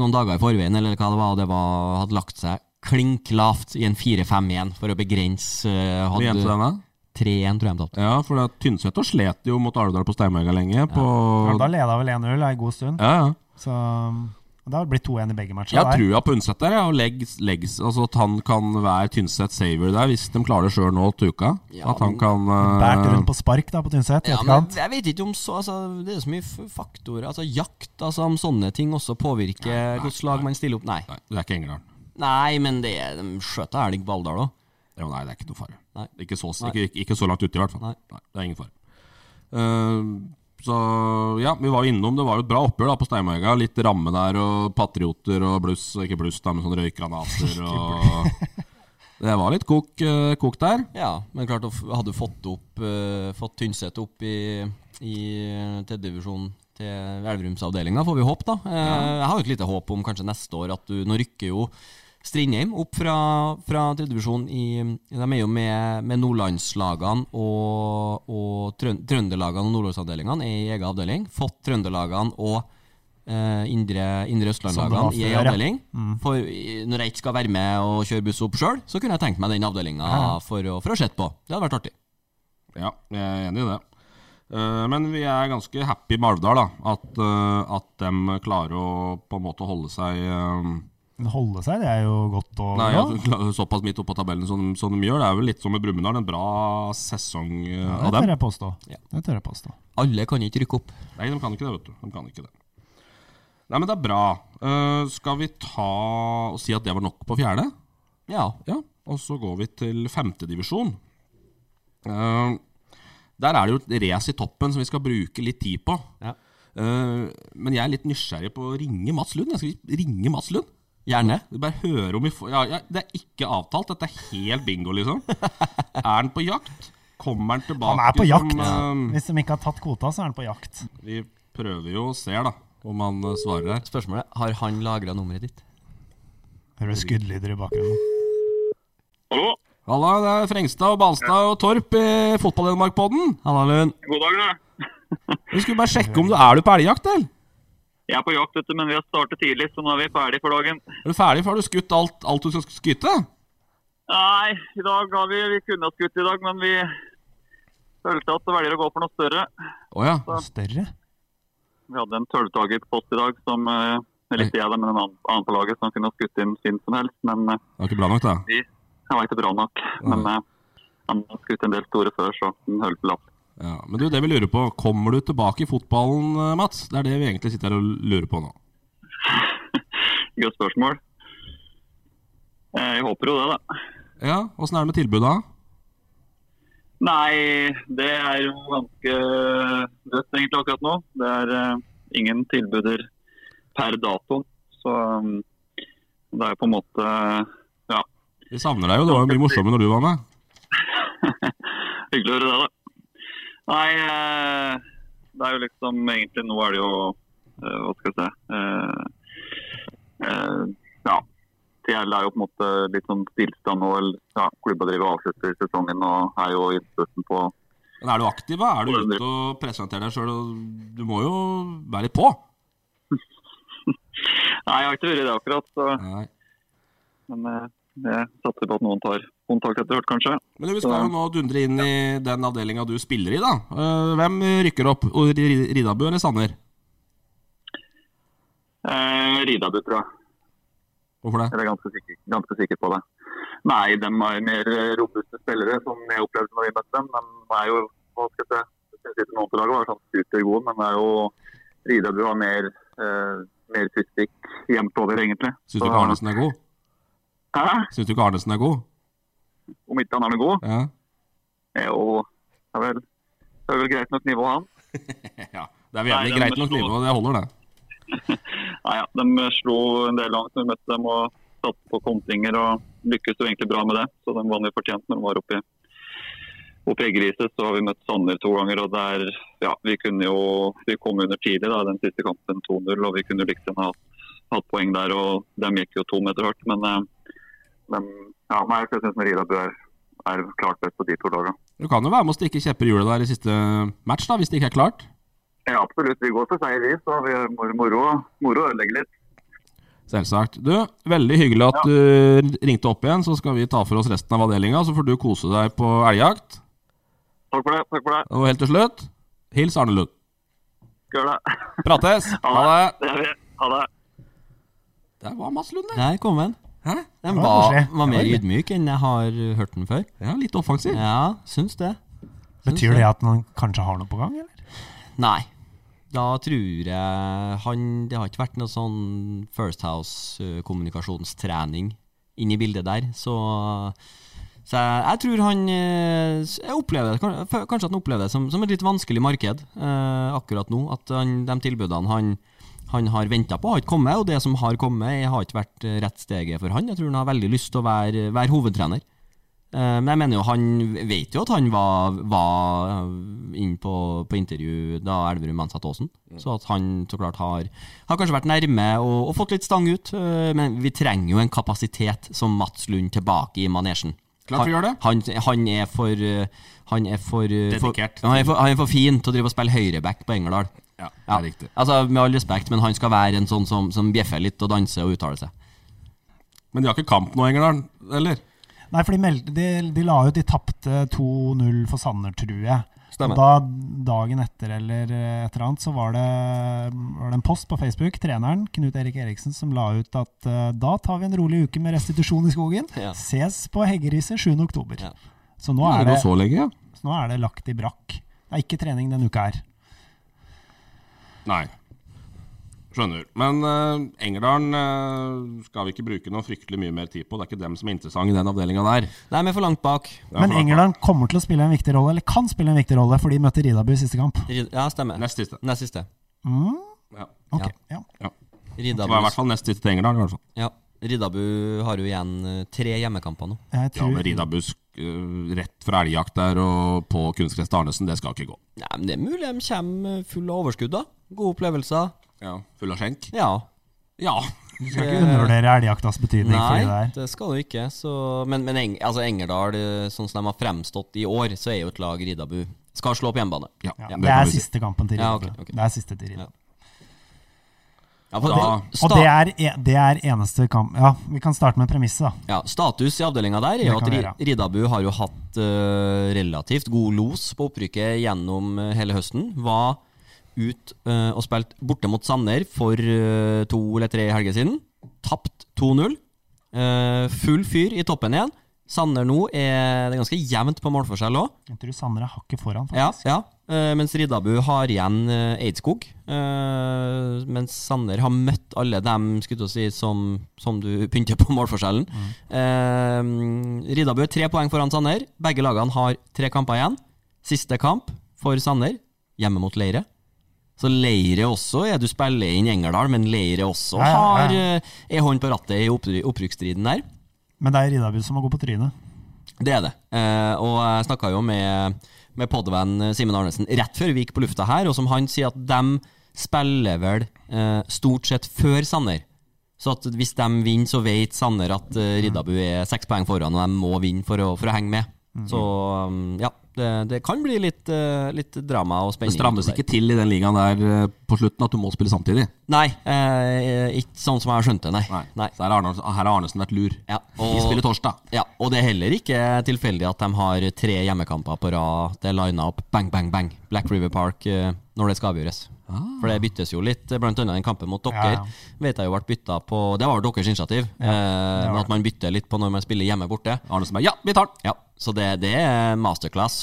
noen dager i forveien, eller hva det var. og Det var, hadde lagt seg klink lavt i en 4-5-1 for å begrense eh, Hvor endte Hadde den, da? 3-1, tror jeg de tapte. Ja, for det er Tynset og slet jo mot Alvdal på Steinmøyga lenge. På Alvdal leda vel 1-0 ei god stund, ja, ja. så um, og det har blitt 2-1 i begge matcher. Jeg har der. trua på Undset der, ja, og leggs, leggs, altså at han kan være Tynset saver der, hvis de klarer det sjøl nå til uka. Ja, at han kan eh, Bært rundt på spark da på Tynset. i Ja, men etterkant. jeg vet ikke om så altså, Det er så mye f- faktorer. Altså Jakt, altså om sånne ting også påvirker hvordan lag man stiller opp. Nei. Nei, det er ikke Engerdal. Nei, men det er de skjøt av elg på Alvdal òg. Jo, nei, det er ikke noe fare. Nei. Ikke, så, Nei. ikke, ikke så langt ute, i hvert fall. Nei. det er ingen fare. Eh, så ja, vi var jo innom. Det var jo et bra oppgjør da på Steinmøyga. Litt ramme der, og patrioter og bluss. Ikke bluss, da, men sånn røykgranater og Det var litt kok, eh, kok der. Ja, men klart å f- hadde du fått opp eh, Fått Tynset opp i, i tredjedivisjon til Elverumsavdelinga, får vi håpe, da. Eh, Jeg har jo et lite håp om kanskje neste år at du Nå rykker jo Strindheim opp fra, fra tredjedivisjon i De er jo med, med nordlandslagene og, og trøn, trønderlagene og nordlandsavdelingene er i egen avdeling. Fått trønderlagene og eh, indre, indre østlandlagene Som det var i før, en ja. avdeling. For i- når jeg ikke skal være med og kjøre buss opp sjøl, så kunne jeg tenkt meg den avdelinga for, å- for å sette på. Det hadde vært artig. Ja, jeg er enig i det. Eh, men vi er ganske happy med Alvdal, da. At, eh, at de klarer å på en måte holde seg eh, Men holde seg, det er jo godt å Nei, altså, Ja. at de klarer såpass midt oppå tabellen som, de- som de gjør. Det er vel litt som med Brumunddal, en bra sesong eh, Det av dem. tør jeg påstå. Det tør jeg påstå. Alle kan ikke rykke opp. Nei, de kan ikke det, vet du. De kan ikke det. Nei, men det er bra. Eh, skal vi ta og si at det var nok på fjerde? Ja. Ja. Og så går vi til femtedivisjon. Uh, der er det jo et race i toppen som vi skal bruke litt tid på. Ja. Eh, men jeg er litt nysgjerrig på å ringe Mats Lund. Jeg skal ringe Mats Lund. Gjerne. Du bare hører om vi får ja, ja, Det er ikke avtalt. Dette er helt bingo, liksom. Er han på jakt? Kommer han tilbake? Han er på som, jakt. eh, Hvis de ikke har tatt kvota, så er han på jakt. vi prøver jo og ser, da, om han eh, svarer her. Spørsmålet har han lagra nummeret ditt? Hører du skuddlyder i bakgrunnen. Hallo. Halla, det er Frengstad og Balstad og Torp i Fotball-Hedmark-podden. Halla, Lund. God dag, da. Vi skulle bare sjekke om du er du på elgjakt, eller? Jeg er på jakt, vet du, men vi har startet tidlig, så nå er vi ferdig for dagen. Er du ferdig, for har du skutt alt, alt du skal skyte? Nei, i dag har vi, vi kunne ha skutt i dag, men vi følte at det velger å gå for noe større. Å ja. Større? Vi hadde en tolvtager på post i dag som eh, eller ikke jeg, da, men en annen, annen på laget som kunne ha skutt inn sin som helst. Men eh, Det var ikke bra nok, da. vi han var ikke bra nok. Men eh, han har skutt en del store før, så den holdt på lapp. Ja, men du, det vi lurer på, kommer du tilbake i fotballen, eh, Mats? Det er det vi egentlig sitter her og lurer på nå. Godt spørsmål. Eh, Jeg håper jo det, da. Ja, Åssen er det med tilbudet? da? Nei, det er jo ganske dødt egentlig akkurat nå. Det er eh, ingen tilbuder per dato. Så um, det er jo på en måte Ja, Vi savner deg jo, det var jo mye morsommere når du var med. hyggelig å høre det, da. Nei, eh, det er jo liksom egentlig Nå er det jo eh, Hva skal jeg si eh, eh, Ja. TL er jo på en måte litt sånn stillstand nå. eller, Ja, klubba driver og avslutter sesongen og er jo i spurten på Men er du aktiv? da? Er du ute og presenterer deg sjøl? Du må jo være litt på? Nei, jeg har ikke vært det akkurat. Så. Men eh, jeg satser på at noen tar kontakt etter hvert, kanskje. Men vi skal jo nå dundre inn i den avdelinga du spiller i, da. Eh, Hvem rykker opp? Og Ri- Ri- Ridabu eller Sanner? Eh, Ridabu, tror jeg. Hvorfor det? Jeg er ganske sikker, ganske sikker på det. Nei, de er mer eh, robuste spillere, som jeg opplevde når vi møtte dem. De er jo, hva skal jeg si, jeg synes ikke noen på laget var sånn supergode, men det er jo Ridabu har mer, eh, mer fysikk jevnt over, egentlig. Syns du ikke Arnesen er god? Hæ? Syns du ikke Arnesen er god? Om ikke han er noe god, Ja. er jo det er vel, det er vel greit nok nivå, han. ja, Det er vel jævlig Nei, den greit nok består. nivå, det holder, det. Nei, ja, de slo en del langt når vi møtte dem og satte på kontringer og lykkes jo egentlig bra med det. Så de vant jo fortjent når de var oppe i oppe i Egeriset. Så har vi møtt Sanner to ganger, og der ja, vi kunne jo vi kom under tidlig da, den siste kampen 2-0, og vi kunne liksom ha hatt poeng der, og de gikk jo to meter hardt. Men eh, de, ja, nei, jeg synes Merida Bø er, er klart best på de to lagene. Du kan jo være med å stikke kjepper i hjulet der i siste match, da, hvis det ikke er klart. Ja, absolutt. Vi går for seier, vi. Så vi er moro- moro moro å ødelegge litt. Selvsagt. Du, veldig hyggelig at du ringte opp igjen, så skal vi ta for oss resten av avdelinga. Så får du kose deg på elgjakt. Takk for det. Takk for det. Og helt til slutt, hils Arne Lund. Skal gjøre det. Prates! Ha det! Det gjør vi. Ha det. Der var Mats Lund, det. Der kom den. Hæ? Den var var, koselig. var mer Det var ydmyk enn jeg har uh, hørt den før. Ja, litt offensiv. Ja, syns det. Betyr det at man kanskje har noe på gang, eller? Nei. Da tror jeg han Det har ikke vært noe sånn First House-kommunikasjonstrening inn i bildet der, så så jeg, jeg tror han eh, s- jeg opplever, det- kan- f- Kanskje at han opplever det som, som et litt vanskelig marked eh, akkurat nå. At han, de tilbudene han, han har venta på, har ikke kommet. Og det som har kommet, har ikke vært eh, rett steget for han. Jeg tror han har veldig lyst til å være, være hovedtrener. Eh, Men jeg mener jo, han vet jo at han var, var eh, inn på, på intervju da Elverum ansatte Aasen. Mm. Så at han så klart har, har kanskje vært nærme og, og fått litt stang ut. eh, Men vi trenger jo en kapasitet som Mats Lund tilbake i manesjen. Klart vi gjør det. Han, han er for eh, Han er for, eh, for, Dedikert. han er for Han er for fin til å drive og spille høyreback på Engerdal. Ja, det Ja, er riktig. Altså, Med all respekt, men han skal være en sånn som, som bjeffer litt og danser og uttaler seg. Men de har ikke kamp nå, Engerdal? Eller? Nei, for de, meldte, de, de la ut De tapte 2-0 for Sanner, tror jeg. Stemmer. Og Da, dagen etter eller eh, et eller annet, så var det, var det en post på Facebook, treneren Knut Erik Eriksen, som la ut at eh, da tar vi en rolig uke med restitusjon i skogen. Ja. Ses på Heggeriset 7. oktober. Ja. Så nå Er er, det det, går så lenge, ja? så nå er det lagt i brakk. Det er ikke trening denne uka her. Nei. Skjønner. Men uh, Engerdalen eh, skal vi ikke bruke noe fryktelig mye mer tid på. Det er ikke dem som er interessant i den avdelinga der. Nei, men for langt bak. Det er Men for langt Engerdal kommer til å spille en viktig rolle, eller kan spille en viktig rolle, for de møtte Ridabu i siste kamp. Mm, Ja, stemmer. bak. Nest siste. Nest siste. Ja. Ok, Ja. ja. Ja. Ridabu, Det var i hvert fall nest siste til Engerdal. i hvert fall. ja. Ridabu har jo igjen eh, tre hjemmekamper nå. Jeg Ja, tror, men Ridabusk eh, rett fra elgjakt der og på kunstgress til Arnesen, det skal ikke gå. Nei, men Det er mulig de kommer eh, full av overskudd. da Gode opplevelser. Ja, Full av skjenk? Ja. Ja. Du skal ikke undervurdere elgjaktas betydning for det Nei, der. det skal du ikke. Så, men men Eng, altså Engerdal, eh, sånn som de har fremstått i år, så er jo et lag Ridabu skal slå på hjemmebane. ja, Ja, det det kan er vi si. siste kampen til Ja, Ridabu. ok, ok. Det er siste til Ridabu. Ja, for Da- det- Og sta- det er, e- det er eneste kamp Ja, vi kan starte med premisset, da. Ja, Status i avdelinga der er jo Det at kan Ri- være. Ridabu har jo hatt eh, relativt god los på opprykket gjennom eh, hele høsten. Var ut eh, og spilt borte mot Sanner for eh, to eller tre helger siden. Tapt 2-0. Eh, full fyr i toppen igjen. Sanner nå er det er ganske jevnt på målforskjell òg. Jeg tror Sander er hakket foran. Ja, ja. Eh, mens Riddabu har igjen eh, Eidskog. Eh, mens Sanner har møtt alle dem skulle jeg til å si, som, som du pynter på målforskjellen. Mm. Eh, Riddabu er tre poeng foran Sanner. Begge lagene har tre kamper igjen. Siste kamp for Sanner, hjemme mot Leire. Så Leire også ja, Du spiller inn Engerdal, men Leire også Ja, ja, har, ja. eh, er hånd på rattet i oppry- opprykksstriden der. Men det er Ridabu som må gå på trynet. Det er det. Eh, og jeg snakka jo med, med podvenn Simen Arnesen rett før vi gikk på lufta her, og som han sier at de spiller vel eh, stort sett før Sanner. Så at hvis de vinner, så vet Sanner at Mm. eh, Riddabu er seks poeng foran, og de må vinne for å, for å henge med. Mm-hmm. Så um, ja, det, det kan bli litt, eh, litt drama og Det spenning. strammes utover. ikke til i den ligaen der eh, på slutten at du må spille samtidig. Nei, eh, ikke sånn som jeg har skjønt det, nei. Nei. Så her har Arnesen, her har Arnesen vært lur. Ja, Vi spiller torsdag. Ja, og det er heller ikke tilfeldig at de har tre hjemmekamper på rad. Det er lina opp bang, bang, bang. Black River Park eh, når det skal avgjøres. For det byttes jo litt, eh, blant annet den kampen mot dere. Ah. Ja, ja. Vet jeg jo ble bytta på Det var vel deres initiativ, eh, men at man bytter litt på når man spiller hjemme borte. Arnesen bare Ja, vi tar den! Ja, så det, det er masterclass.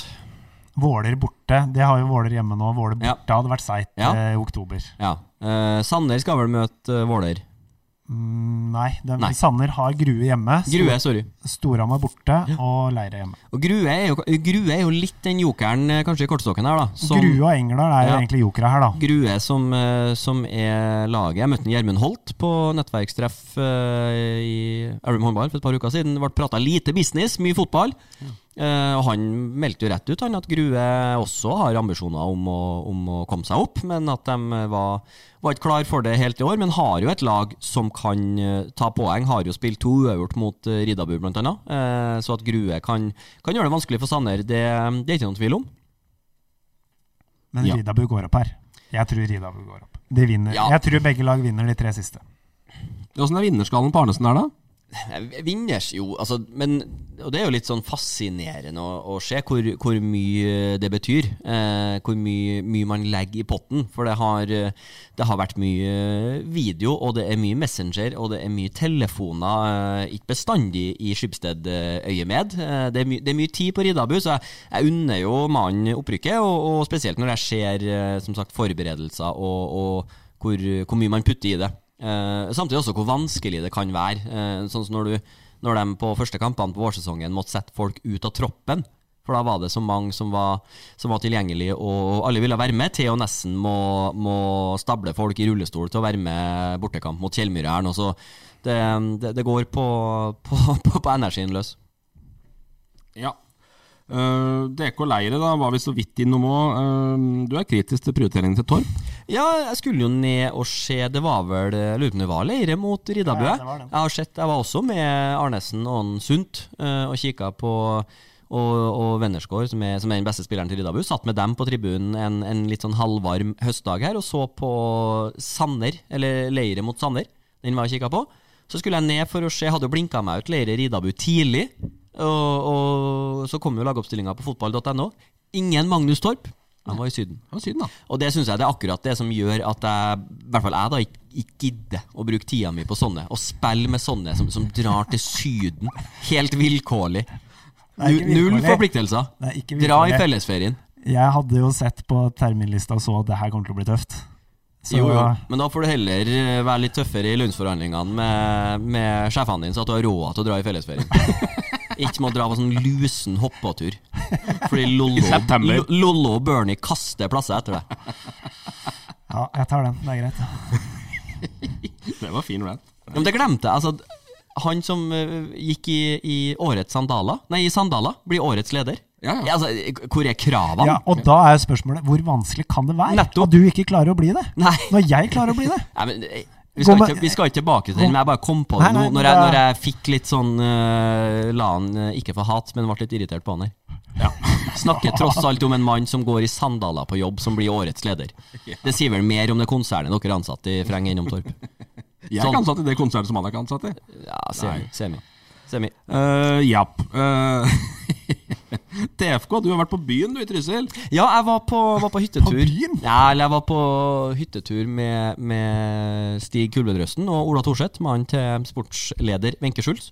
Våler borte. Det har jo Våler hjemme nå. Våler Ja. borte hadde vært seigt Ja. eh, i oktober. Ja. Eh, Sanner skal vel møte eh, Våler. Mm, nei, det, Nei. Sanner har Grue hjemme. Sto- Grue, sorry. Storhamar borte og Leire hjemme. Og Grue er jo, Grue er jo litt den jokeren eh, kanskje i kortstokken her, da. som- Grue og Engerdal er jo Ja. egentlig jokere her, da. Grue som, eh, som er laget. Jeg møtte Gjermund Holt på nettverkstreff eh, i Elverum håndball for et par uker siden. Det ble prata lite business, mye fotball. Eh, og han meldte jo rett ut han at Grue også har ambisjoner om å, om å komme seg opp, men at de var, var ikke klar for det helt i år. Men har jo et lag som kan eh, ta poeng. Har jo spilt to uavgjort mot eh, Riddabu, blant annet. Eh, så at Grue kan, kan gjøre det vanskelig for Sanner, det, det er ikke noen tvil om. Men Ja. Ridabu går opp her. Jeg tror Ridabu går opp. De vinner. Ja. Jeg tror begge lag vinner de tre siste. Åssen er vinnerskallen på Arnesen der, da? Nei, Vinners, jo. Altså, men, og det er jo litt sånn fascinerende å, å se hvor, hvor mye det betyr. Eh, hvor mye, mye man legger i potten. For det har, eh, det har vært mye video, og det er mye Messenger, og det er mye telefoner. Eh, ikke bestandig i Skipsted-øyemed. Eh, det, er my- det er mye tid på Riddabu, så jeg, jeg unner jo mannen opprykket. Og, og spesielt når jeg ser eh, som sagt, forberedelser og, og hvor, hvor mye man putter i det. Eh, samtidig også hvor vanskelig det kan være. Eh, sånn som når, du, når de på første kampene på vårsesongen måtte sette folk ut av troppen. For da var det så mange som var, som var tilgjengelige, og alle ville være med. Til og nesten må, må stable folk i rullestol til å være med bortekamp mot Kjellmyrhæren. og så Det, det, det går på, på, på, på energien løs. Ja. Eh, DK Leire da, var vi så vidt innom òg. du er kritisk til prioriteringen til Torp. Ja, jeg skulle jo ned og se Det var vel jeg lurer på om det var leire mot Riddabø. Ja, det var det. jeg har sett, jeg var også med Arnesen og han Sundt eh, og kikka på og, og Vennersgaard, som, er- som er den beste spilleren til Riddabu, satt med dem på tribunen en, en litt sånn halvvarm høstdag her og så på Sanner, eller Leire mot Sanner. Den var jeg kikka på. Så skulle jeg ned for å se, hadde jo blinka meg ut Leire Riddabu tidlig. Og, og så kom jo lagoppstillinga på fotball.no. Ingen Magnus Torp. Han var i Syden. Ja, Syden, da. Og det synes jeg det er akkurat det som gjør at jeg, i hvert fall jeg da, ikke, ikke gidder å bruke tida mi på sånne. Og spille med sånne som, som drar til Syden helt vilkårlig. Det er ikke Nu- Null vilkårlig. forpliktelser. Det er ikke Dra i vilkårlig. fellesferien. Jeg hadde jo sett på terminlista og så at det her kommer til å bli tøft. Så Jo, jo. Men da får du heller eh, være litt tøffere i lønnsforhandlingene med, med sjefene dine, så at du har råd til å dra i fellesferien. Ikke må dra på sånn lusen hoppetur. Fordi Lollo, september. Lo- Lollo og Bernie kaster plasser etter deg. ja, jeg tar den. Det er greit. Det var fin rant. Ja, men det glemte jeg. Altså, han som eh, gikk i, i årets sandaler, nei, i sandaler, blir årets leder. Ja, ja. Altså, hvor er kravene? Ja, og da er spørsmålet hvor vanskelig kan det være Nettopp. at du ikke klarer å bli det? Nei. Når jeg klarer å bli det? Nei, men, eh, vi, skal Gå med- ikke, vi skal ikke tilbake til den, men jeg bare kom på Nei, det nei, nå. Når men jeg, da- når jeg fikk litt sånn eh, La han eh, ikke få hat, men ble litt irritert på han her. Snakker tross alt om en mann som går i sandaler på jobb, som blir årets leder. Det sier vel mer om det konsernet dere er ansatt i, Freng Eiendom Torp. Jeg Sånn. er ikke ansatt i det konsernet som han er ikke ansatt i. Ja, semi. semi. semi. Uh, Japp. Eh, TFK, du har vært på byen du i Trysil. Ja, jeg var på, var på hyttetur. På byen? Ja, eller jeg var på hyttetur med, med Stig Kulvedrøsten og Ola Thorseth, mannen til sportsleder Wenche Schultz.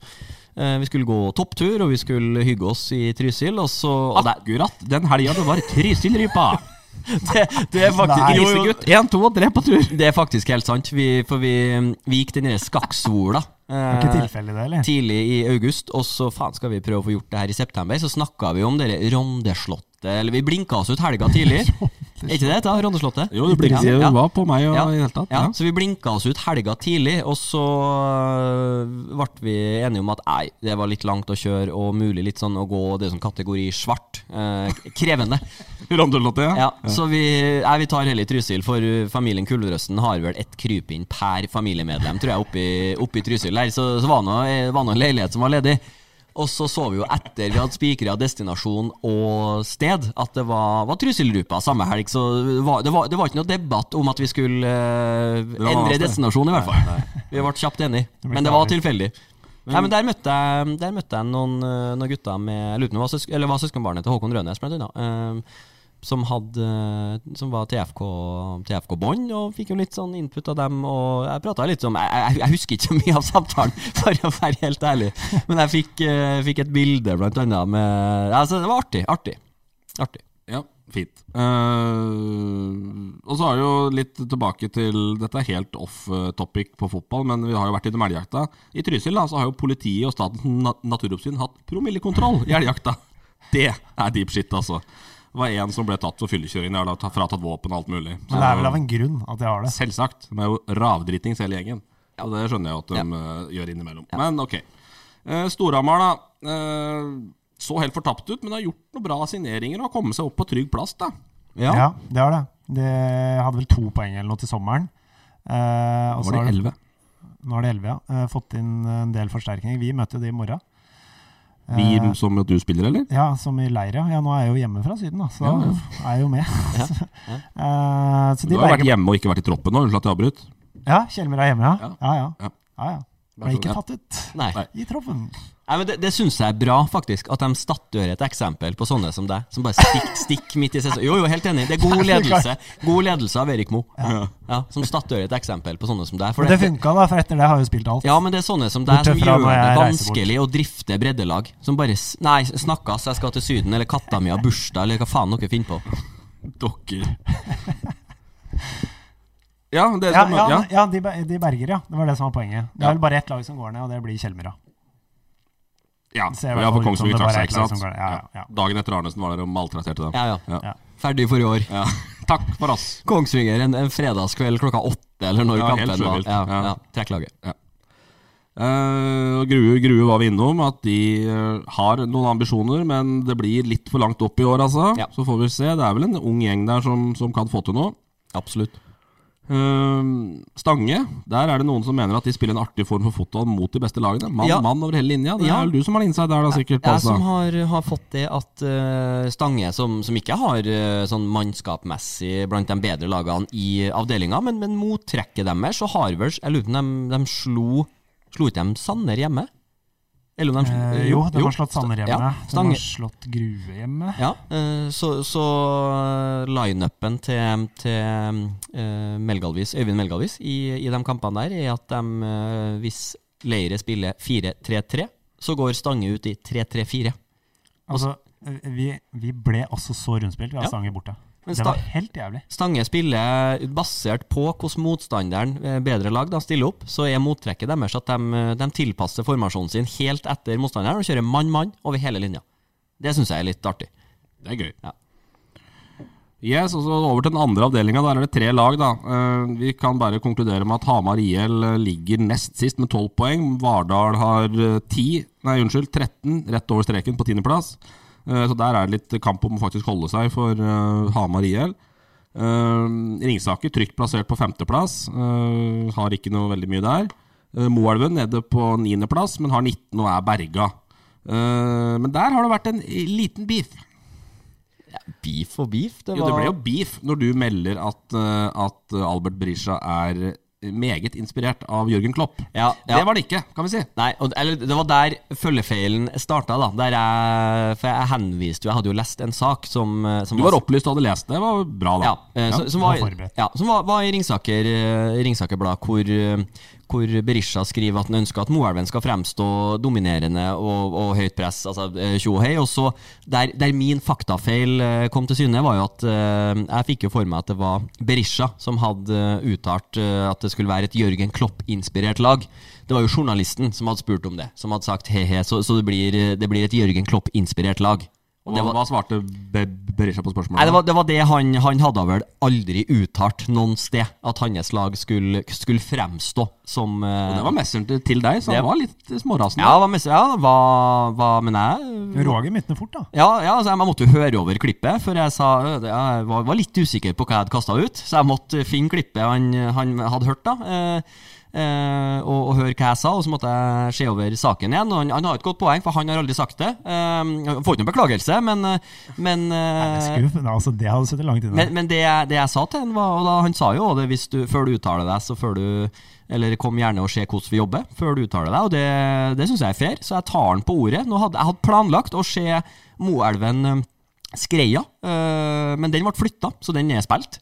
Eh, Vi skulle gå topptur, og vi skulle hygge oss i Trysil, og så Ah, og der- Akkurat den helga det var Trysilrypa! det, det er faktisk Nei. Jo, jo. Grisegutt, én, to og tre på tur! Det er faktisk helt sant, vi, for vi, vi gikk den derre skakksvola. Det var ikke eh, tilfeldig, det, eller? tidlig i august, og så faen skal vi prøve å få gjort det her i september. Så snakka vi om dere Rondeslottet, eller vi blinka oss ut helga tidlig. er ikke det det heter? Rondeslottet? Jo, det blinket Ja. jo hva på meg og Ja. i det hele tatt. Ja, Ja. så vi blinka oss ut helga tidlig, og så øh, ble vi enige om at nei, det var litt langt å kjøre, og mulig litt sånn å gå det som kategori svart. eh, krevende. Rondelottet, ja. Ja, så vi, nei, vi tar heller Trysil, for uh, familien Kuldrøsten har vel ett krypinn per familiemedlem, tror jeg, oppi, oppi Trysil der. Så, så var det noe, eh, var noe en leilighet som var ledig. Og så så vi jo etter vi hadde spikra destinasjon og sted, at det var, var Trysilrupa samme helg. Så det var, det, var, det var ikke noe debatt om at vi skulle eh, var endre vanskelig. destinasjon, i hvert fall. Vi ble kjapt enige. Det blir Men det var farlig. tilfeldig. Nei, men Der møtte jeg, der møtte jeg noen, eh, noen gutter med Jeg lurer på om det var søsk- eller var søskenbarnet til Håkon Rønnes, blant annet. eh, som, hadde, som var TFK-bånd, og fikk jo litt sånn input av dem. Og jeg prata litt om jeg, jeg, jeg husker ikke så mye av samtalen, for å være helt ærlig. Men jeg fikk, eh, fikk et bilde, blant annet. Med, altså, det var artig. Artig. artig. Ja, fint. Eh, og så har vi jo litt tilbake til Dette er helt off eh, topic på fotball, men vi har jo vært innom elgjakta. I Trysil da, så har jo politiet og Statens na- naturoppsyn hatt promillekontroll i elgjakta. Det er deep shit, altså. Det var én som ble tatt for fyllekjøring. De har da ta- fratatt våpen og alt mulig. Men det er vel av en grunn at de har det. Selvsagt. De er jo ravdritings hele gjengen. Og det skjønner jeg jo at de eh, gjør innimellom. Men ok. Eh, Storhamar, da. eh, så helt fortapt ut, men har gjort noen bra signeringer og har kommet seg opp på trygg plass, da. Ja, det har det. De hadde vel to poeng eller noe til sommeren. Eh, og så Var har det de- 11? Nå er det 11, ja. Eh, fått inn en del forsterkninger. Vi møter jo de i morgen. Eh, Vi som at du spiller, eller? Ja, som i leir, ja. ja. Nå er jeg jo hjemme fra Syden, da, så Ja, ja. da er jeg jo med. Eh, så Du de har jo vært berger hjemme og ikke vært i troppen nå. Unnskyld at jeg avbryter. Ja, Kjelmer er hjemme, ja. Ja. Ja, ja. Ja. ja, ja. Bare sånn, ja. Ble ikke tatt ut Nei. Nei. i troppen. Nei, men Det, det syns jeg er bra, faktisk. At de statuerer et eksempel på sånne som deg. Som bare stikk, stikk midt i sesongen. Jo, jo, helt enig. Det er god ledelse God ledelse av Erik Moe. Ja. som statuerer et eksempel på sånne som deg. For Men det funka, da, for etter det har jeg jo spilt alt. ja, men det er sånne som deg som Bortsett fra gjør når det jeg reiser bort. vanskelig å drifte breddelag. Som bare s- Nei, snakkas, jeg skal til Syden, eller katta mi har bursdag, eller hva faen dere finner på. Dokker. ja, det Ja, som, ja, ja. ja de, be- de berger, ja. Det var det som var poenget. Det Ja. er vel bare ett lag som går ned, og det blir Kjelmer, ja. ja. ser i ja, hvert for fall ut som Kongsvinger det bare trakk er seg, ikke et lag sant? som går- ja, ja, ja. Dagen etter Arnesen var der og maltrakterte dem. Ja, ja. Ja. Ferdig for i år. Ja. Takk for oss. Kongsvinger en, en fredagskveld klokka åtte, eller når Ja, helt kampen var. sjøvilt. Ja, Ja. ja. Trekk laget. Eh, og Grue, Grue var vi innom, at de eh, har noen ambisjoner, men det blir litt for langt opp i år, altså. Ja. Så får vi se. Det er vel en ung gjeng der som, som kan få til noe. Absolutt. Eh, Stange, der er det noen som mener at de spiller en artig form for fotball mot de beste lagene. Mann Ja. mann over hele linja. Det Ja. er vel du som har innside der, da, sikkert. Jeg altså. som har, har fått det at eh, Stange, som, som ikke har eh, sånn mannskapmessig blant de bedre lagene i avdelinga, men, men mottrekket deres og Harvards Jeg lurer på om de, de slo Slo ikke de Sanner hjemme? Eller om de slo- Eh, jo, de har slått Sanner hjemme. Ja, de har Stange. slått Grue hjemme. Ja, eh, så, så eh, lineupen til, til eh, Melgalvis, Øyvind Melgalvis i, i de kampene der er at de, eh, hvis Leire spiller 4-3-3, så går Stange ut i 3-3-4. Altså, eh, vi, vi ble også så rundspilt. Vi har Ja. Stange borte. Men Det var Sta- helt jævlig. Stange spiller basert på hvordan motstanderen, eh, bedre lag, da stiller opp. Så er mottrekket deres at de, eh, de tilpasser formasjonen sin helt etter motstanderen og kjører mann-mann over hele linja. Det syns jeg er litt artig. Det er gøy. Ja. Yes, og så Over til den andre avdelinga. Der er det tre lag. da. Eh, Vi kan bare konkludere med at Hamar IL eh, ligger nest sist med tolv poeng. Vardal har eh, 10, nei unnskyld, 13 rett over streken på tiendeplass. Eh, Så der er det litt kamp om å faktisk holde seg for eh, Hamar IL. Eh, Ringsaker trygt plassert på femteplass. eh, har ikke noe veldig mye der. Eh, Moelven nede på niendeplass, men har 19 og er berga. Eh, men der har det vært en liten beef. Beef og beef, det Jo, var det ble jo beef når du melder at, eh, at Albert Brisja er meget inspirert av Jørgen Klopp. Ja, ja. Det var det ikke, kan vi si. Nei, og, eller det var der følgefeilen starta, da. Der jeg, for jeg henviste jo Jeg hadde jo lest en sak som, eh, som Du var opplyst og hadde lest det. Det var bra, da. Ja, eh, som, som, var var, forberedt. ja, som var, var i Ringsaker, eh, Ringsaker Blad, hvor, eh, hvor Berisha skriver at han ønsker at Moelven skal fremstå dominerende og, og høyt press, altså eh, tjo og hei. Og så der, der min faktafeil eh, kom til syne, var jo at eh, jeg fikk jo for meg at det var Berisha som hadde eh, uttalt eh, at det skulle være et Jørgen Klopp-inspirert lag. Det var jo journalisten som hadde spurt om det, som hadde sagt he-he, så, så det, blir, eh, det blir et Jørgen Klopp-inspirert lag. Og Hva, det var- hva svarte Be Berisha på spørsmålet? Nei, det var, det var det han, han hadde vel aldri uttalt noen sted, at hans lag skulle, skulle fremstå som eh, Og det var messeren til- til deg, så Det- han var litt smårasende. Ja, hva, mest, ja hva, hva, men jeg Roger midtene fort, da. ja, ja, altså jeg måtte jo høre over klippet, for jeg, sa, øh, jeg var, var litt usikker på hva jeg hadde kasta ut. Så jeg måtte finne klippet han, han hadde hørt, da. Eh, eh, og, og høre hva jeg sa, og så måtte jeg se over saken igjen. Og han, han har et godt poeng, for han har aldri sagt det. Eh, jeg får ikke noen beklagelse, men, eh, men Jeg eh, skulle, nei, altså, det hadde sittet langt inne. men, men det, jeg, det jeg sa til han var, og da, han sa jo også det hvis du, før du uttaler deg, så før du Eller kom gjerne og se hvordan vi jobber før du uttaler deg, og det, det syns jeg er fair, så jeg tar han på ordet. Nå hadde, jeg hadde planlagt å se Moelven eh, Skreia, eh, men den ble flytta, så den er spilt.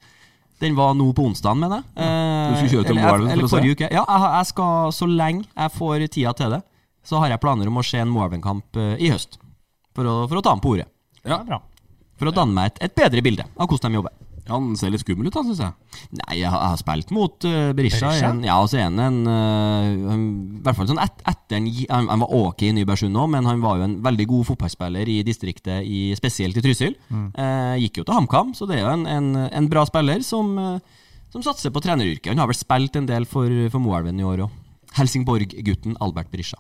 Den var nå på onsdagen, mener jeg. Eh, Du skulle kjøre til eller- Moelven for eller å se? forrige uke. Ja, jeg, har- jeg skal, så lenge jeg får tida til det, så har jeg planer om å se en Moelven-kamp eh, i høst. For å, for å ta han på ordet. Det er bra. For å danne meg et, et bedre bilde av hvordan de jobber. Han ser litt skummel ut, da, syns jeg. Nei, jeg har, jeg har spilt mot uh, Berisha. Berisha? igjen. Ja, og så er han en eh, han- I hvert fall sånn et, etter han, gi- han, han var ok i Nybergsund òg, men han var jo en veldig god fotballspiller i distriktet, i, spesielt i Trysil. Eh, gikk jo til HamKam, så det er jo en, en, en bra spiller som, eh, som satser på treneryrket. Han har vel spilt en del for, for Moelven i år òg. Helsingborg-gutten Albert Berisha.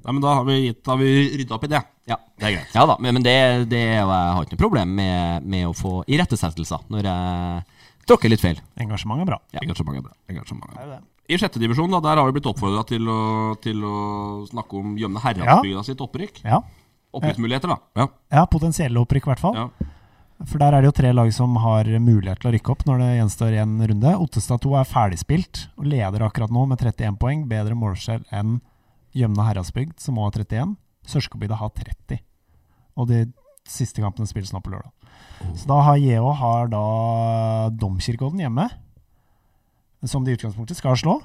Nei, men Da har vi, gitt- da har vi rydda opp i det. Ja, Det er greit. ja da, men men det, det er jo- jeg har ikke noe problem med, med å få irettesettelser når jeg tråkker litt feil. Engasjement er bra. Engasjement er bra. Engasjement er Det bra. er det. I sjette divisjon da, der har vi blitt oppfordra til, å- til å snakke om Gjømne Herredsbygda sitt opprykk. Ja. Opprykksmuligheter, da. Ja. ja, potensielle opprykk, i hvert fall. Ja. For der er det jo tre lag som har mulighet til å rykke opp når det gjenstår én runde. Ottestad 2 er ferdigspilt og leder akkurat nå med 31 poeng. Bedre målskjell enn Gjømna Heradsbygd, som òg har 31. Sørskobygda har 30. Og de siste kampene spilles nå på lørdag. Så da har JH har da Domkirkeodden hjemme, som de i utgangspunktet skal slå.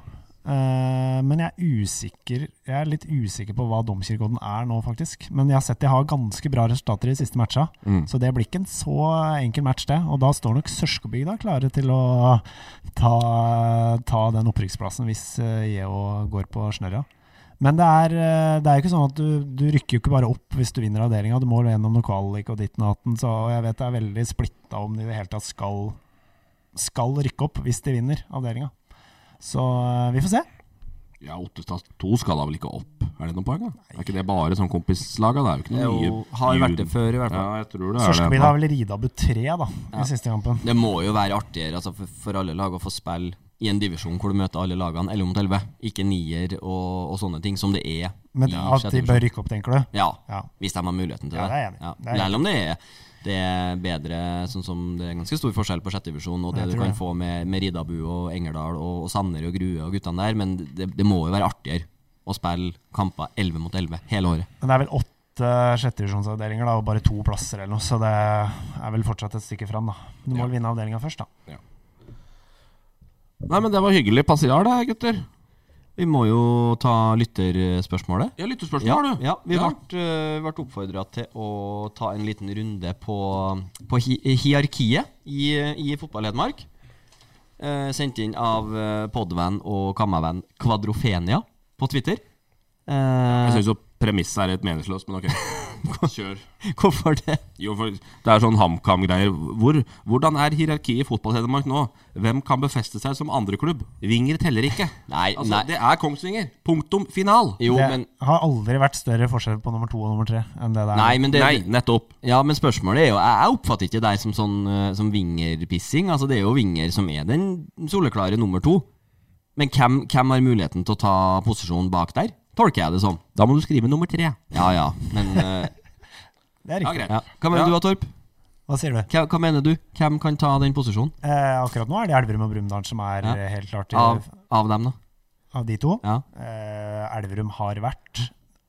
Eh, men jeg er usikker Jeg er litt usikker på hva Domkirkeodden er nå, faktisk. Men jeg har sett de har ganske bra resultater i de siste matcha. Så det blir ikke en så enkel match, det. Og da står nok Sørskobygda klare til å ta, ta den opprykksplassen hvis eh, JH går på snørra. Men det er, eh, det er jo ikke sånn at du, du rykker jo ikke bare opp hvis du vinner avdelinga. Du må jo gjennom noe kvalik og ditten og datten, så jeg vet det er veldig splitta om de i det hele tatt skal, skal rykke opp hvis de vinner avdelinga. Så eh, vi får se. ja, Ottestad 2 skal da vel ikke opp? Er det noen poeng, da? Er ikke det bare sånn kompislaga? Det er jo ikke noe nye Jo, har vært det før, i hvert fall. Ja, jeg tror det er det. Sørskebyen har vel Ridabu 3 da, i siste kampen. Det må jo være artigere altså for, for alle lag å få spille i en divisjon hvor du møter alle lagene 11 mot 11, ikke nier og, og sånne ting som det er Men i at sjette de divisjon. bør rykke opp, tenker du? Ja, Ja. hvis de har muligheten til Ja, det. det er jeg enig i. Det er jeg Selv om det er, det er bedre, sånn som det er ganske stor forskjell på sjette divisjon og det Jeg du tror kan det. få med, med Ridabu og Engerdal og, og Sanner og Grue og guttene der, men det, det må jo være artigere å spille kamper 11 mot 11 hele året. Men det er vel åtte sjettevisjonsavdelinger da, og bare to plasser eller noe, så det er vel fortsatt et stykke fram, da. Du må vel vinne avdelinga først, da. Nei, men det var hyggelig passiar, det, gutter. Vi må jo ta lytterspørsmålet. Ja, lyttespørsmål, Ja, har du? ja vi Ja. ble, uh, oppfordra til å ta en liten runde på, på hi hierarkiet i, i Fotball-Hedmark. Eh, sendt inn av uh, podvenn og kammervenn Kvadrofenia på Twitter. Eh, Jeg syns jo premisset er helt meningsløst, men ok. Kjør. hvorfor det? Jo, for det er sånn HamKam-greier. Hvor, hvordan er hierarkiet i fotball-Hedmark nå? Hvem kan befeste seg som andreklubb? Vinger teller ikke. Nei, altså, nei. Det er Kongsvinger. Punktum final. Jo, det men har aldri vært større forskjell på nummer to og nummer tre enn det det er. Nei, men det Nei, nettopp. Ja, men spørsmålet er jo Jeg jeg oppfatter ikke deg som sånn eh, Som vingerpissing. Altså, det er jo vinger som er den soleklare nummer to. Men hvem, hvem har muligheten til å ta posisjonen bak der? Tolker jeg det som. Da må du skrive nummer tre. Ja ja, men eh, Det Ja, er riktig. greit. ja. Hva mener Ja. du da, Torp? Hva sier du? Hva, hva mener du? Hvem kan ta den posisjonen? Eh, akkurat nå er det Elverum og Brumunddal som er Ja. eh, helt klart i, Av, av, av dem, da? de to. Ja. Eh, Elverum har vært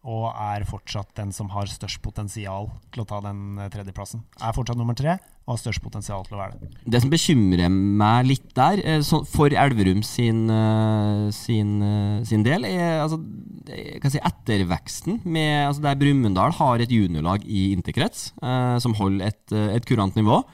og er fortsatt den som har størst potensial til å ta den eh, tredjeplassen. Er fortsatt nummer tre og har størst potensial til å være det. Det som bekymrer meg litt der, eh, så for Elverum sin, eh, sin, eh, sin del, er altså, det- jeg kan si etterveksten. Med, altså, der Brumunddal har et juniorlag i interkrets eh, som holder et, eh, et kurant nivå.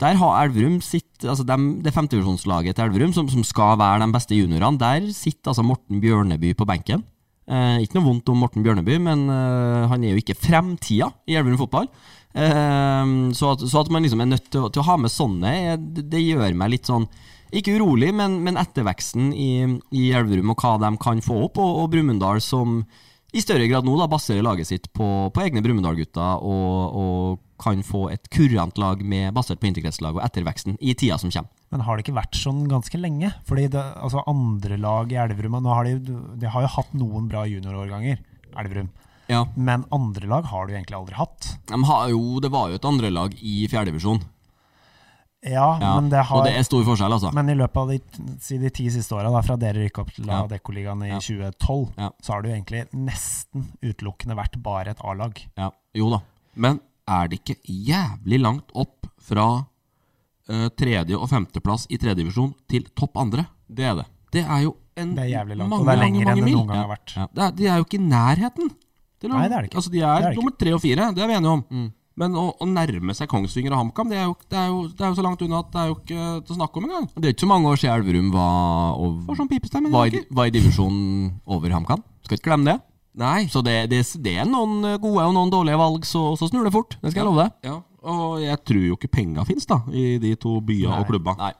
Der har Elverum sitt, altså dem, Det femtevisjonslaget til Elverum, som, som skal være de beste juniorene, der sitter altså Morten Bjørneby på benken. Eh, ikke noe vondt om Morten Bjørneby, men eh, han er jo ikke fremtida i Elverum fotball. Eh, så, at, så at man liksom er nødt til, å- til å ha med sånne, eh, det, det gjør meg litt sånn Ikke urolig, men, men etterveksten i, i Elverum og hva de kan få opp, og, og Brumunddal som i større grad nå da baserer laget sitt på, på egne Brumunddal-gutter og, og kan få et kurant lag med, basert på interkretslag og etterveksten i tida som kommer. Men har det ikke vært sånn ganske lenge? Fordi det, altså andre lag i Elverum nå har de, de har jo hatt noen bra juniorårganger, Elverum. Ja. Men andre lag har du egentlig aldri hatt. De har jo, det var jo et andrelag i fjerdedivisjon. Ja, Ja, men det har og det er stor forskjell, altså. Men i løpet av de, t- si de ti siste åra, fra dere rykka opp til La Ja. Decoligaen i Ja. 2012, Ja. så har det jo egentlig nesten utelukkende vært bare et A-lag. Ja, jo da. Men er det ikke jævlig langt opp fra eh, tredje- og femteplass i tredje divisjon til topp andre? Det er det. Det er jo en Det er jævlig langt, mange, og det er mange, lenger mange enn det mil. noen gang har vært. Det er, de er jo ikke i nærheten. til å- Nei, det er det ikke. Altså, de er, Det er det ikke. Mm. nummer tre og fire, det er vi enige om. Men å, å nærme seg Kongsvinger og HamKam, det, er jo- det, er jo- det er jo så langt unna at det er jo ikke til å snakke om engang. Det er ikke så mange år siden Elverum var, og, Får sånn pipestemme. var, det i, er ikke- var i divisjonen over HamKam. Skal ikke glemme det. Nei. Så det, det, det er noen gode og noen dårlige valg, så, så snur det fort. Det skal jeg love deg. Ja, og jeg tror jo ikke penga fins, da, i de to byene og klubba. Nei.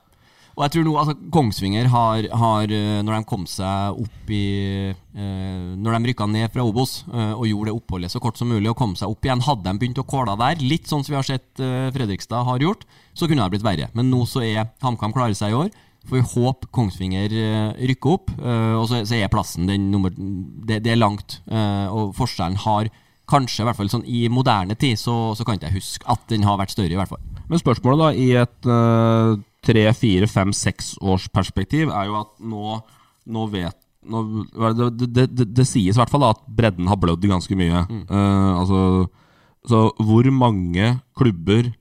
Og jeg tror nå, altså Kongsvinger har, har eh, Når de kom seg opp i eh, Når de rykka ned fra Obos eh, og gjorde det oppholdet så kort som mulig og kom seg opp igjen, hadde de begynt å kåla der, litt sånn som vi har sett eh, Fredrikstad har gjort, så kunne det blitt verre. Men nå så er HamKam klarer seg i år. Får vi håpe Kongsvinger eh, rykker opp. eh, og så, så er plassen den nummer Det, det er langt. eh, og forskjellen har kanskje, i hvert fall sånn i moderne tid, så, så kan ikke jeg huske at den har vært større, i hvert fall. Men spørsmålet da, i et eh, tre, fire, fem, seks års perspektiv, er jo at nå, nå vet nå, hva er det, det, det, det, det sies i hvert fall da, at bredden har blødd ganske mye. Eh, altså, så hvor mange klubber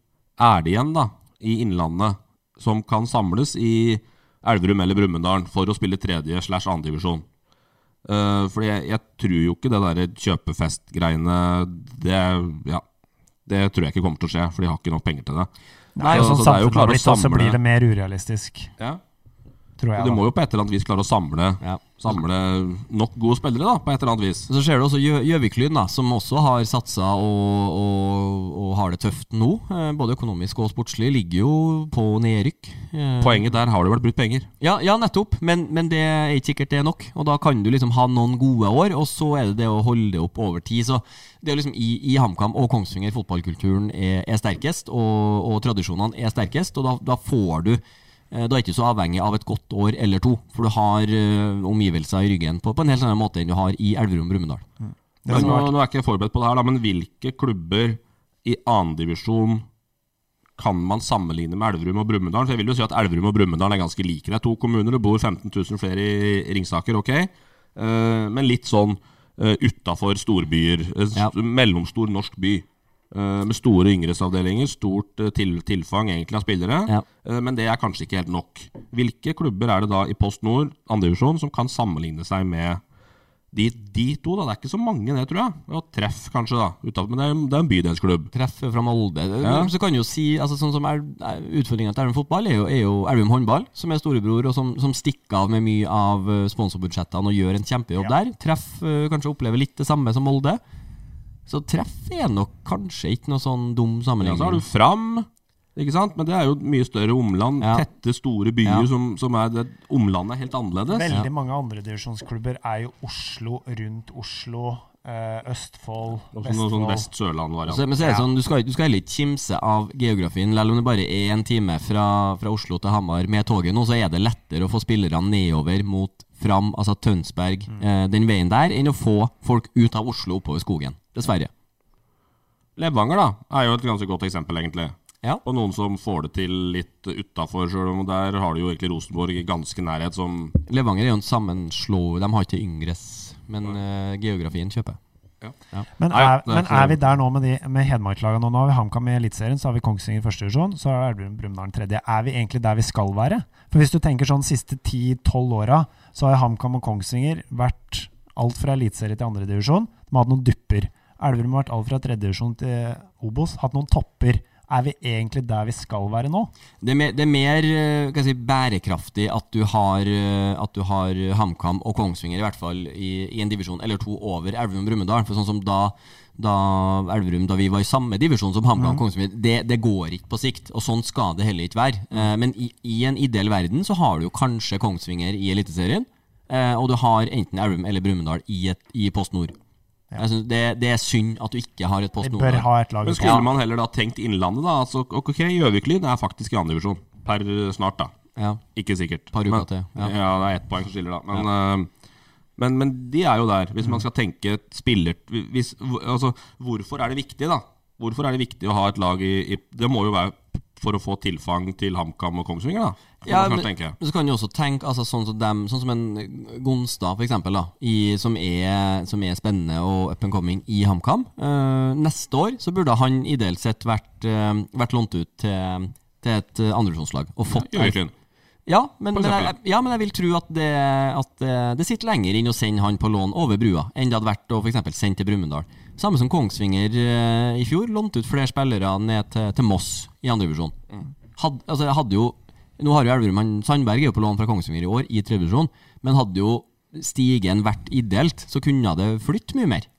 er det igjen da, i Innlandet som kan samles i Elverum eller Brumunddal for å spille tredje slash andre divisjon? Eh, fordi jeg, jeg tror jo ikke det der kjøpefest-greiene Det ja, det tror jeg ikke kommer til å skje, for de har ikke nok penger til det. Nei, så, så sånn det er jo samfunnet har klare å blitt, og så blir samle det mer urealistisk, ja. tror jeg. Du da. må jo på et eller annet vis klare å samle, Ja. samle nok gode spillere, da, på et eller annet vis. Så ser du også Gjø- Gjøviklyn, da, som også har satsa og, og, og har det tøft nå. eh, Både økonomisk og sportslig ligger jo på nedrykk. Eh, Poenget der har det vært brutt penger. Ja, ja nettopp, men, men det er ikke sikkert det er nok. Og da kan du liksom ha noen gode år, og så er det det å holde det opp over tid. Så det er liksom i, i HamKam og Kongsvinger fotballkulturen er, er sterkest, og, og tradisjonene er sterkest, og da, da får du eh, da er ikke du så avhengig av et godt år eller to, for du har eh, omgivelser i ryggen på, på en helt annen måte enn du har i Elverum Brumunddal. Det Men som nå, har vært- nå er ikke jeg forberedt på det her, da, men hvilke klubber i annendivisjon kan man sammenligne med Elverum og Brumunddal? For jeg vil jo si at Elverum og Brumunddal er ganske like. Det er to kommuner, det bor 15 000 flere i Ringsaker, ok? Eh, men litt sånn uh, utafor storbyer. eh, s- Ja. Mellomstor norsk by. eh, med store yngresavdelinger, stort eh, til, tilfang egentlig av spillere. Ja. eh, men det er kanskje ikke helt nok. Hvilke klubber er det da i Post Nord, andredivisjon, som kan sammenligne seg med de, de to, da. Det er ikke så mange, det, tror jeg. Og treff, kanskje, da. Utenfor, men det er, det er en bydelsklubb. treffer fra Molde. Ja. Så kan jo si, altså sånn som er, er Utfordringa til Elverum fotball er jo, er jo Elverum håndball, som er storebror, og som, som stikker av med mye av eh, sponsorbudsjettene og gjør en kjempejobb der. Treff eh, kanskje opplever litt det samme som Molde. Så treff er nok kanskje ikke noe sånn dum Ja, sammenligning. så har du Fram, ikke sant? men det er jo et mye større omland. Ja. Tette, store byer Ja. som, som er det, Omlandet er helt annerledes. Veldig mange andredivisjonsklubber er jo Oslo, rundt Oslo, eh, Østfold, Og så noe sånn Vestfold. Så, Vest-Sørland-variant. men så er det sånn, du skal, du skal heller ikke kimse av geografien. Selv om det bare er en time fra, fra Oslo til Hamar med toget nå, så er det lettere å få spillerne nedover mot Fram, altså Tønsberg, eh, den veien der, enn å få folk ut av Oslo oppover skogen. Dessverre. Levanger da, er jo et ganske godt eksempel, egentlig. Ja. Og noen som får det til litt utafor, sjøl om der har du jo egentlig Rosenborg i ganske nærhet, som Levanger er jo en sammenslå... De har ikke yngres, men eh, geografien kjøper. Men er, men er vi der nå med, de, med Hedmark-lagene nå? Nå har vi HamKam i Eliteserien, så har vi Kongsvinger i første divisjon, så er det Brumunddal tredje. Er vi egentlig der vi skal være? For hvis du tenker sånn siste 10-12 åra, så har HamKam og Kongsvinger vært alt fra eliteserie til andre divisjon. De har hatt noen dupper. Elverum har vært alt fra tredje divisjon til Obos. Hatt noen topper. Er vi egentlig der vi skal være nå? Det er mer, det er mer eh, hva skal jeg si, bærekraftig at du har, eh, at du har HamKam og Kongsvinger, i hvert fall i, i en divisjon eller to over Elverum og Brumunddal. For sånn som da, da Elverum da vi var i samme divisjon som Mm. HamKam og Kongsvinger, det, det går ikke på sikt. Og sånn skal det heller ikke være. Mm. Eh, Men i, i en ideell verden så har du jo kanskje Kongsvinger i Eliteserien, eh, og du har enten Elverum eller Brumunddal i, et- i Post Nord. Jeg synes Det, det er synd at du ikke har et Post Vi Nord. bør ha et lag. Men skulle man heller da tenkt Innlandet, da? Altså, ok, Gjøvik-Lyn er faktisk i andre divisjon per eh, snart, da. Ja. Ikke sikkert. Par uker Men- til, ja. Ja. det er ett poeng som skiller, da. Men, eh, men, men de er jo der, hvis man skal tenke et spiller hvis, hvor- altså, Hvorfor er det viktig, da? Hvorfor er det viktig å ha et lag i, i Det må jo være for å få tilfang til HamKam og Kongsvinger, da. kan Ja, man men, kanskje tenke. men så kan du også tenke altså, sånn, som dem, sånn som en Gonstad, for eksempel, da, i, som, er, som er spennende og up and coming i HamKam. Eh, neste år så burde han ideelt sett vært, eh, vært lånt ut til, til et eh, andredivisjonslag. Og fått Gjøvik-Lyn. Ja, men, For men, jeg, eksempel. ja, men jeg vil tro at det, at eh, det sitter lenger inn å sende han på lån over brua enn det hadde vært å for eksempel sende til Brumunddal. Samme som Kongsvinger eh, i fjor, lånte ut flere spillere ned til, til Moss i andredivisjon. Mm. Had, altså, jeg hadde jo, nå har jo Elverum han- Sandberg er jo på lån fra Kongsvinger i år, i tredjedivisjon, men hadde jo stigen vært ideelt, så kunne det flytte mye mer.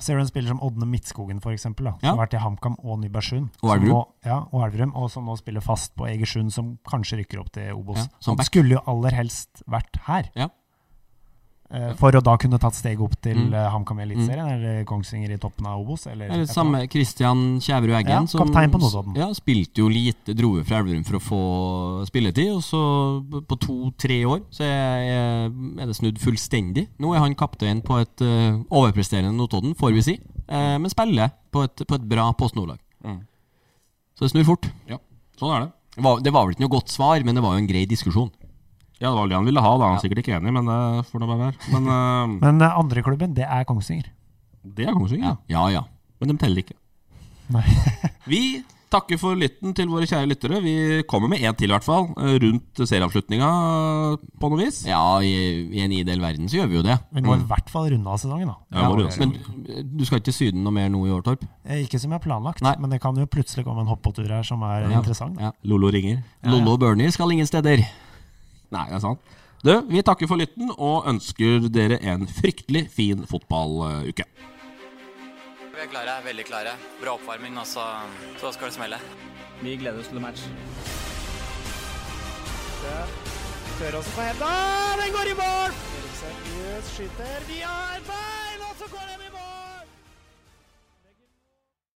Ser du en spiller som Ådne Midtskogen, for eksempel, da, som Ja. har vært i HamKam og Nybergsund. Og som Elverum. nå- Ja, og Elverum, og som nå spiller fast på Egersund, som kanskje rykker opp til Obos. Ja, som Han back. skulle jo aller helst vært her, Ja. eh, for å da kunne tatt steget opp til Mm. eh, HamKam i Eliteserien, eller Kongsvinger i toppen av Obos. Eller, Eller samme Kristian Kjæverud Eggen. Ja, kaptein på Notodden. Ja, spilte jo lite, dro jo fra Elverum for å få spilletid. Og så på to-tre år så er, er det snudd fullstendig. Nå er han kaptein på et eh, overpresterende Notodden, får vi si. eh, men spiller på et, på et bra Post Nordlag. Mm. Så det snur fort. Ja, sånn er det. Det var, det var vel ikke noe godt svar, men det var jo en grei diskusjon. Ja, det var vel det han ville ha, da. Han er sikkert ikke enig, men det får nå bare være. Men eh, Men eh, andreklubben, det er Kongsvinger. det er Kongsvinger, ja. Ja, ja. Men de teller ikke. Nei. Vi takker for lytten til våre kjære lyttere. Vi kommer med én til, i hvert fall. eh, Rundt serieavslutninga, på noe vis. ja i, I en ideell verden så gjør vi jo det. Mm. Vi må i hvert fall runde av sesongen, da. Ja, må du Men eh, gjøre. du skal ikke til Syden noe mer nå i år, Torp? Eh, Ikke som jeg har planlagt, Nei. men det kan jo plutselig komme en hoppåtur her som er interessant. Da. Ja. Lolo ringer. Lollo og Bernie skal ingen steder. Nei, det er sant. Du, vi takker for lytten og ønsker dere en fryktelig fin fotballuke. Vi er klare, veldig klare. Bra oppvarming, og så, så skal det smelle. Vi gleder oss til match. Tør også på henda, den går i mål! Eriksen ut, skyter, vi har bein, og så går den i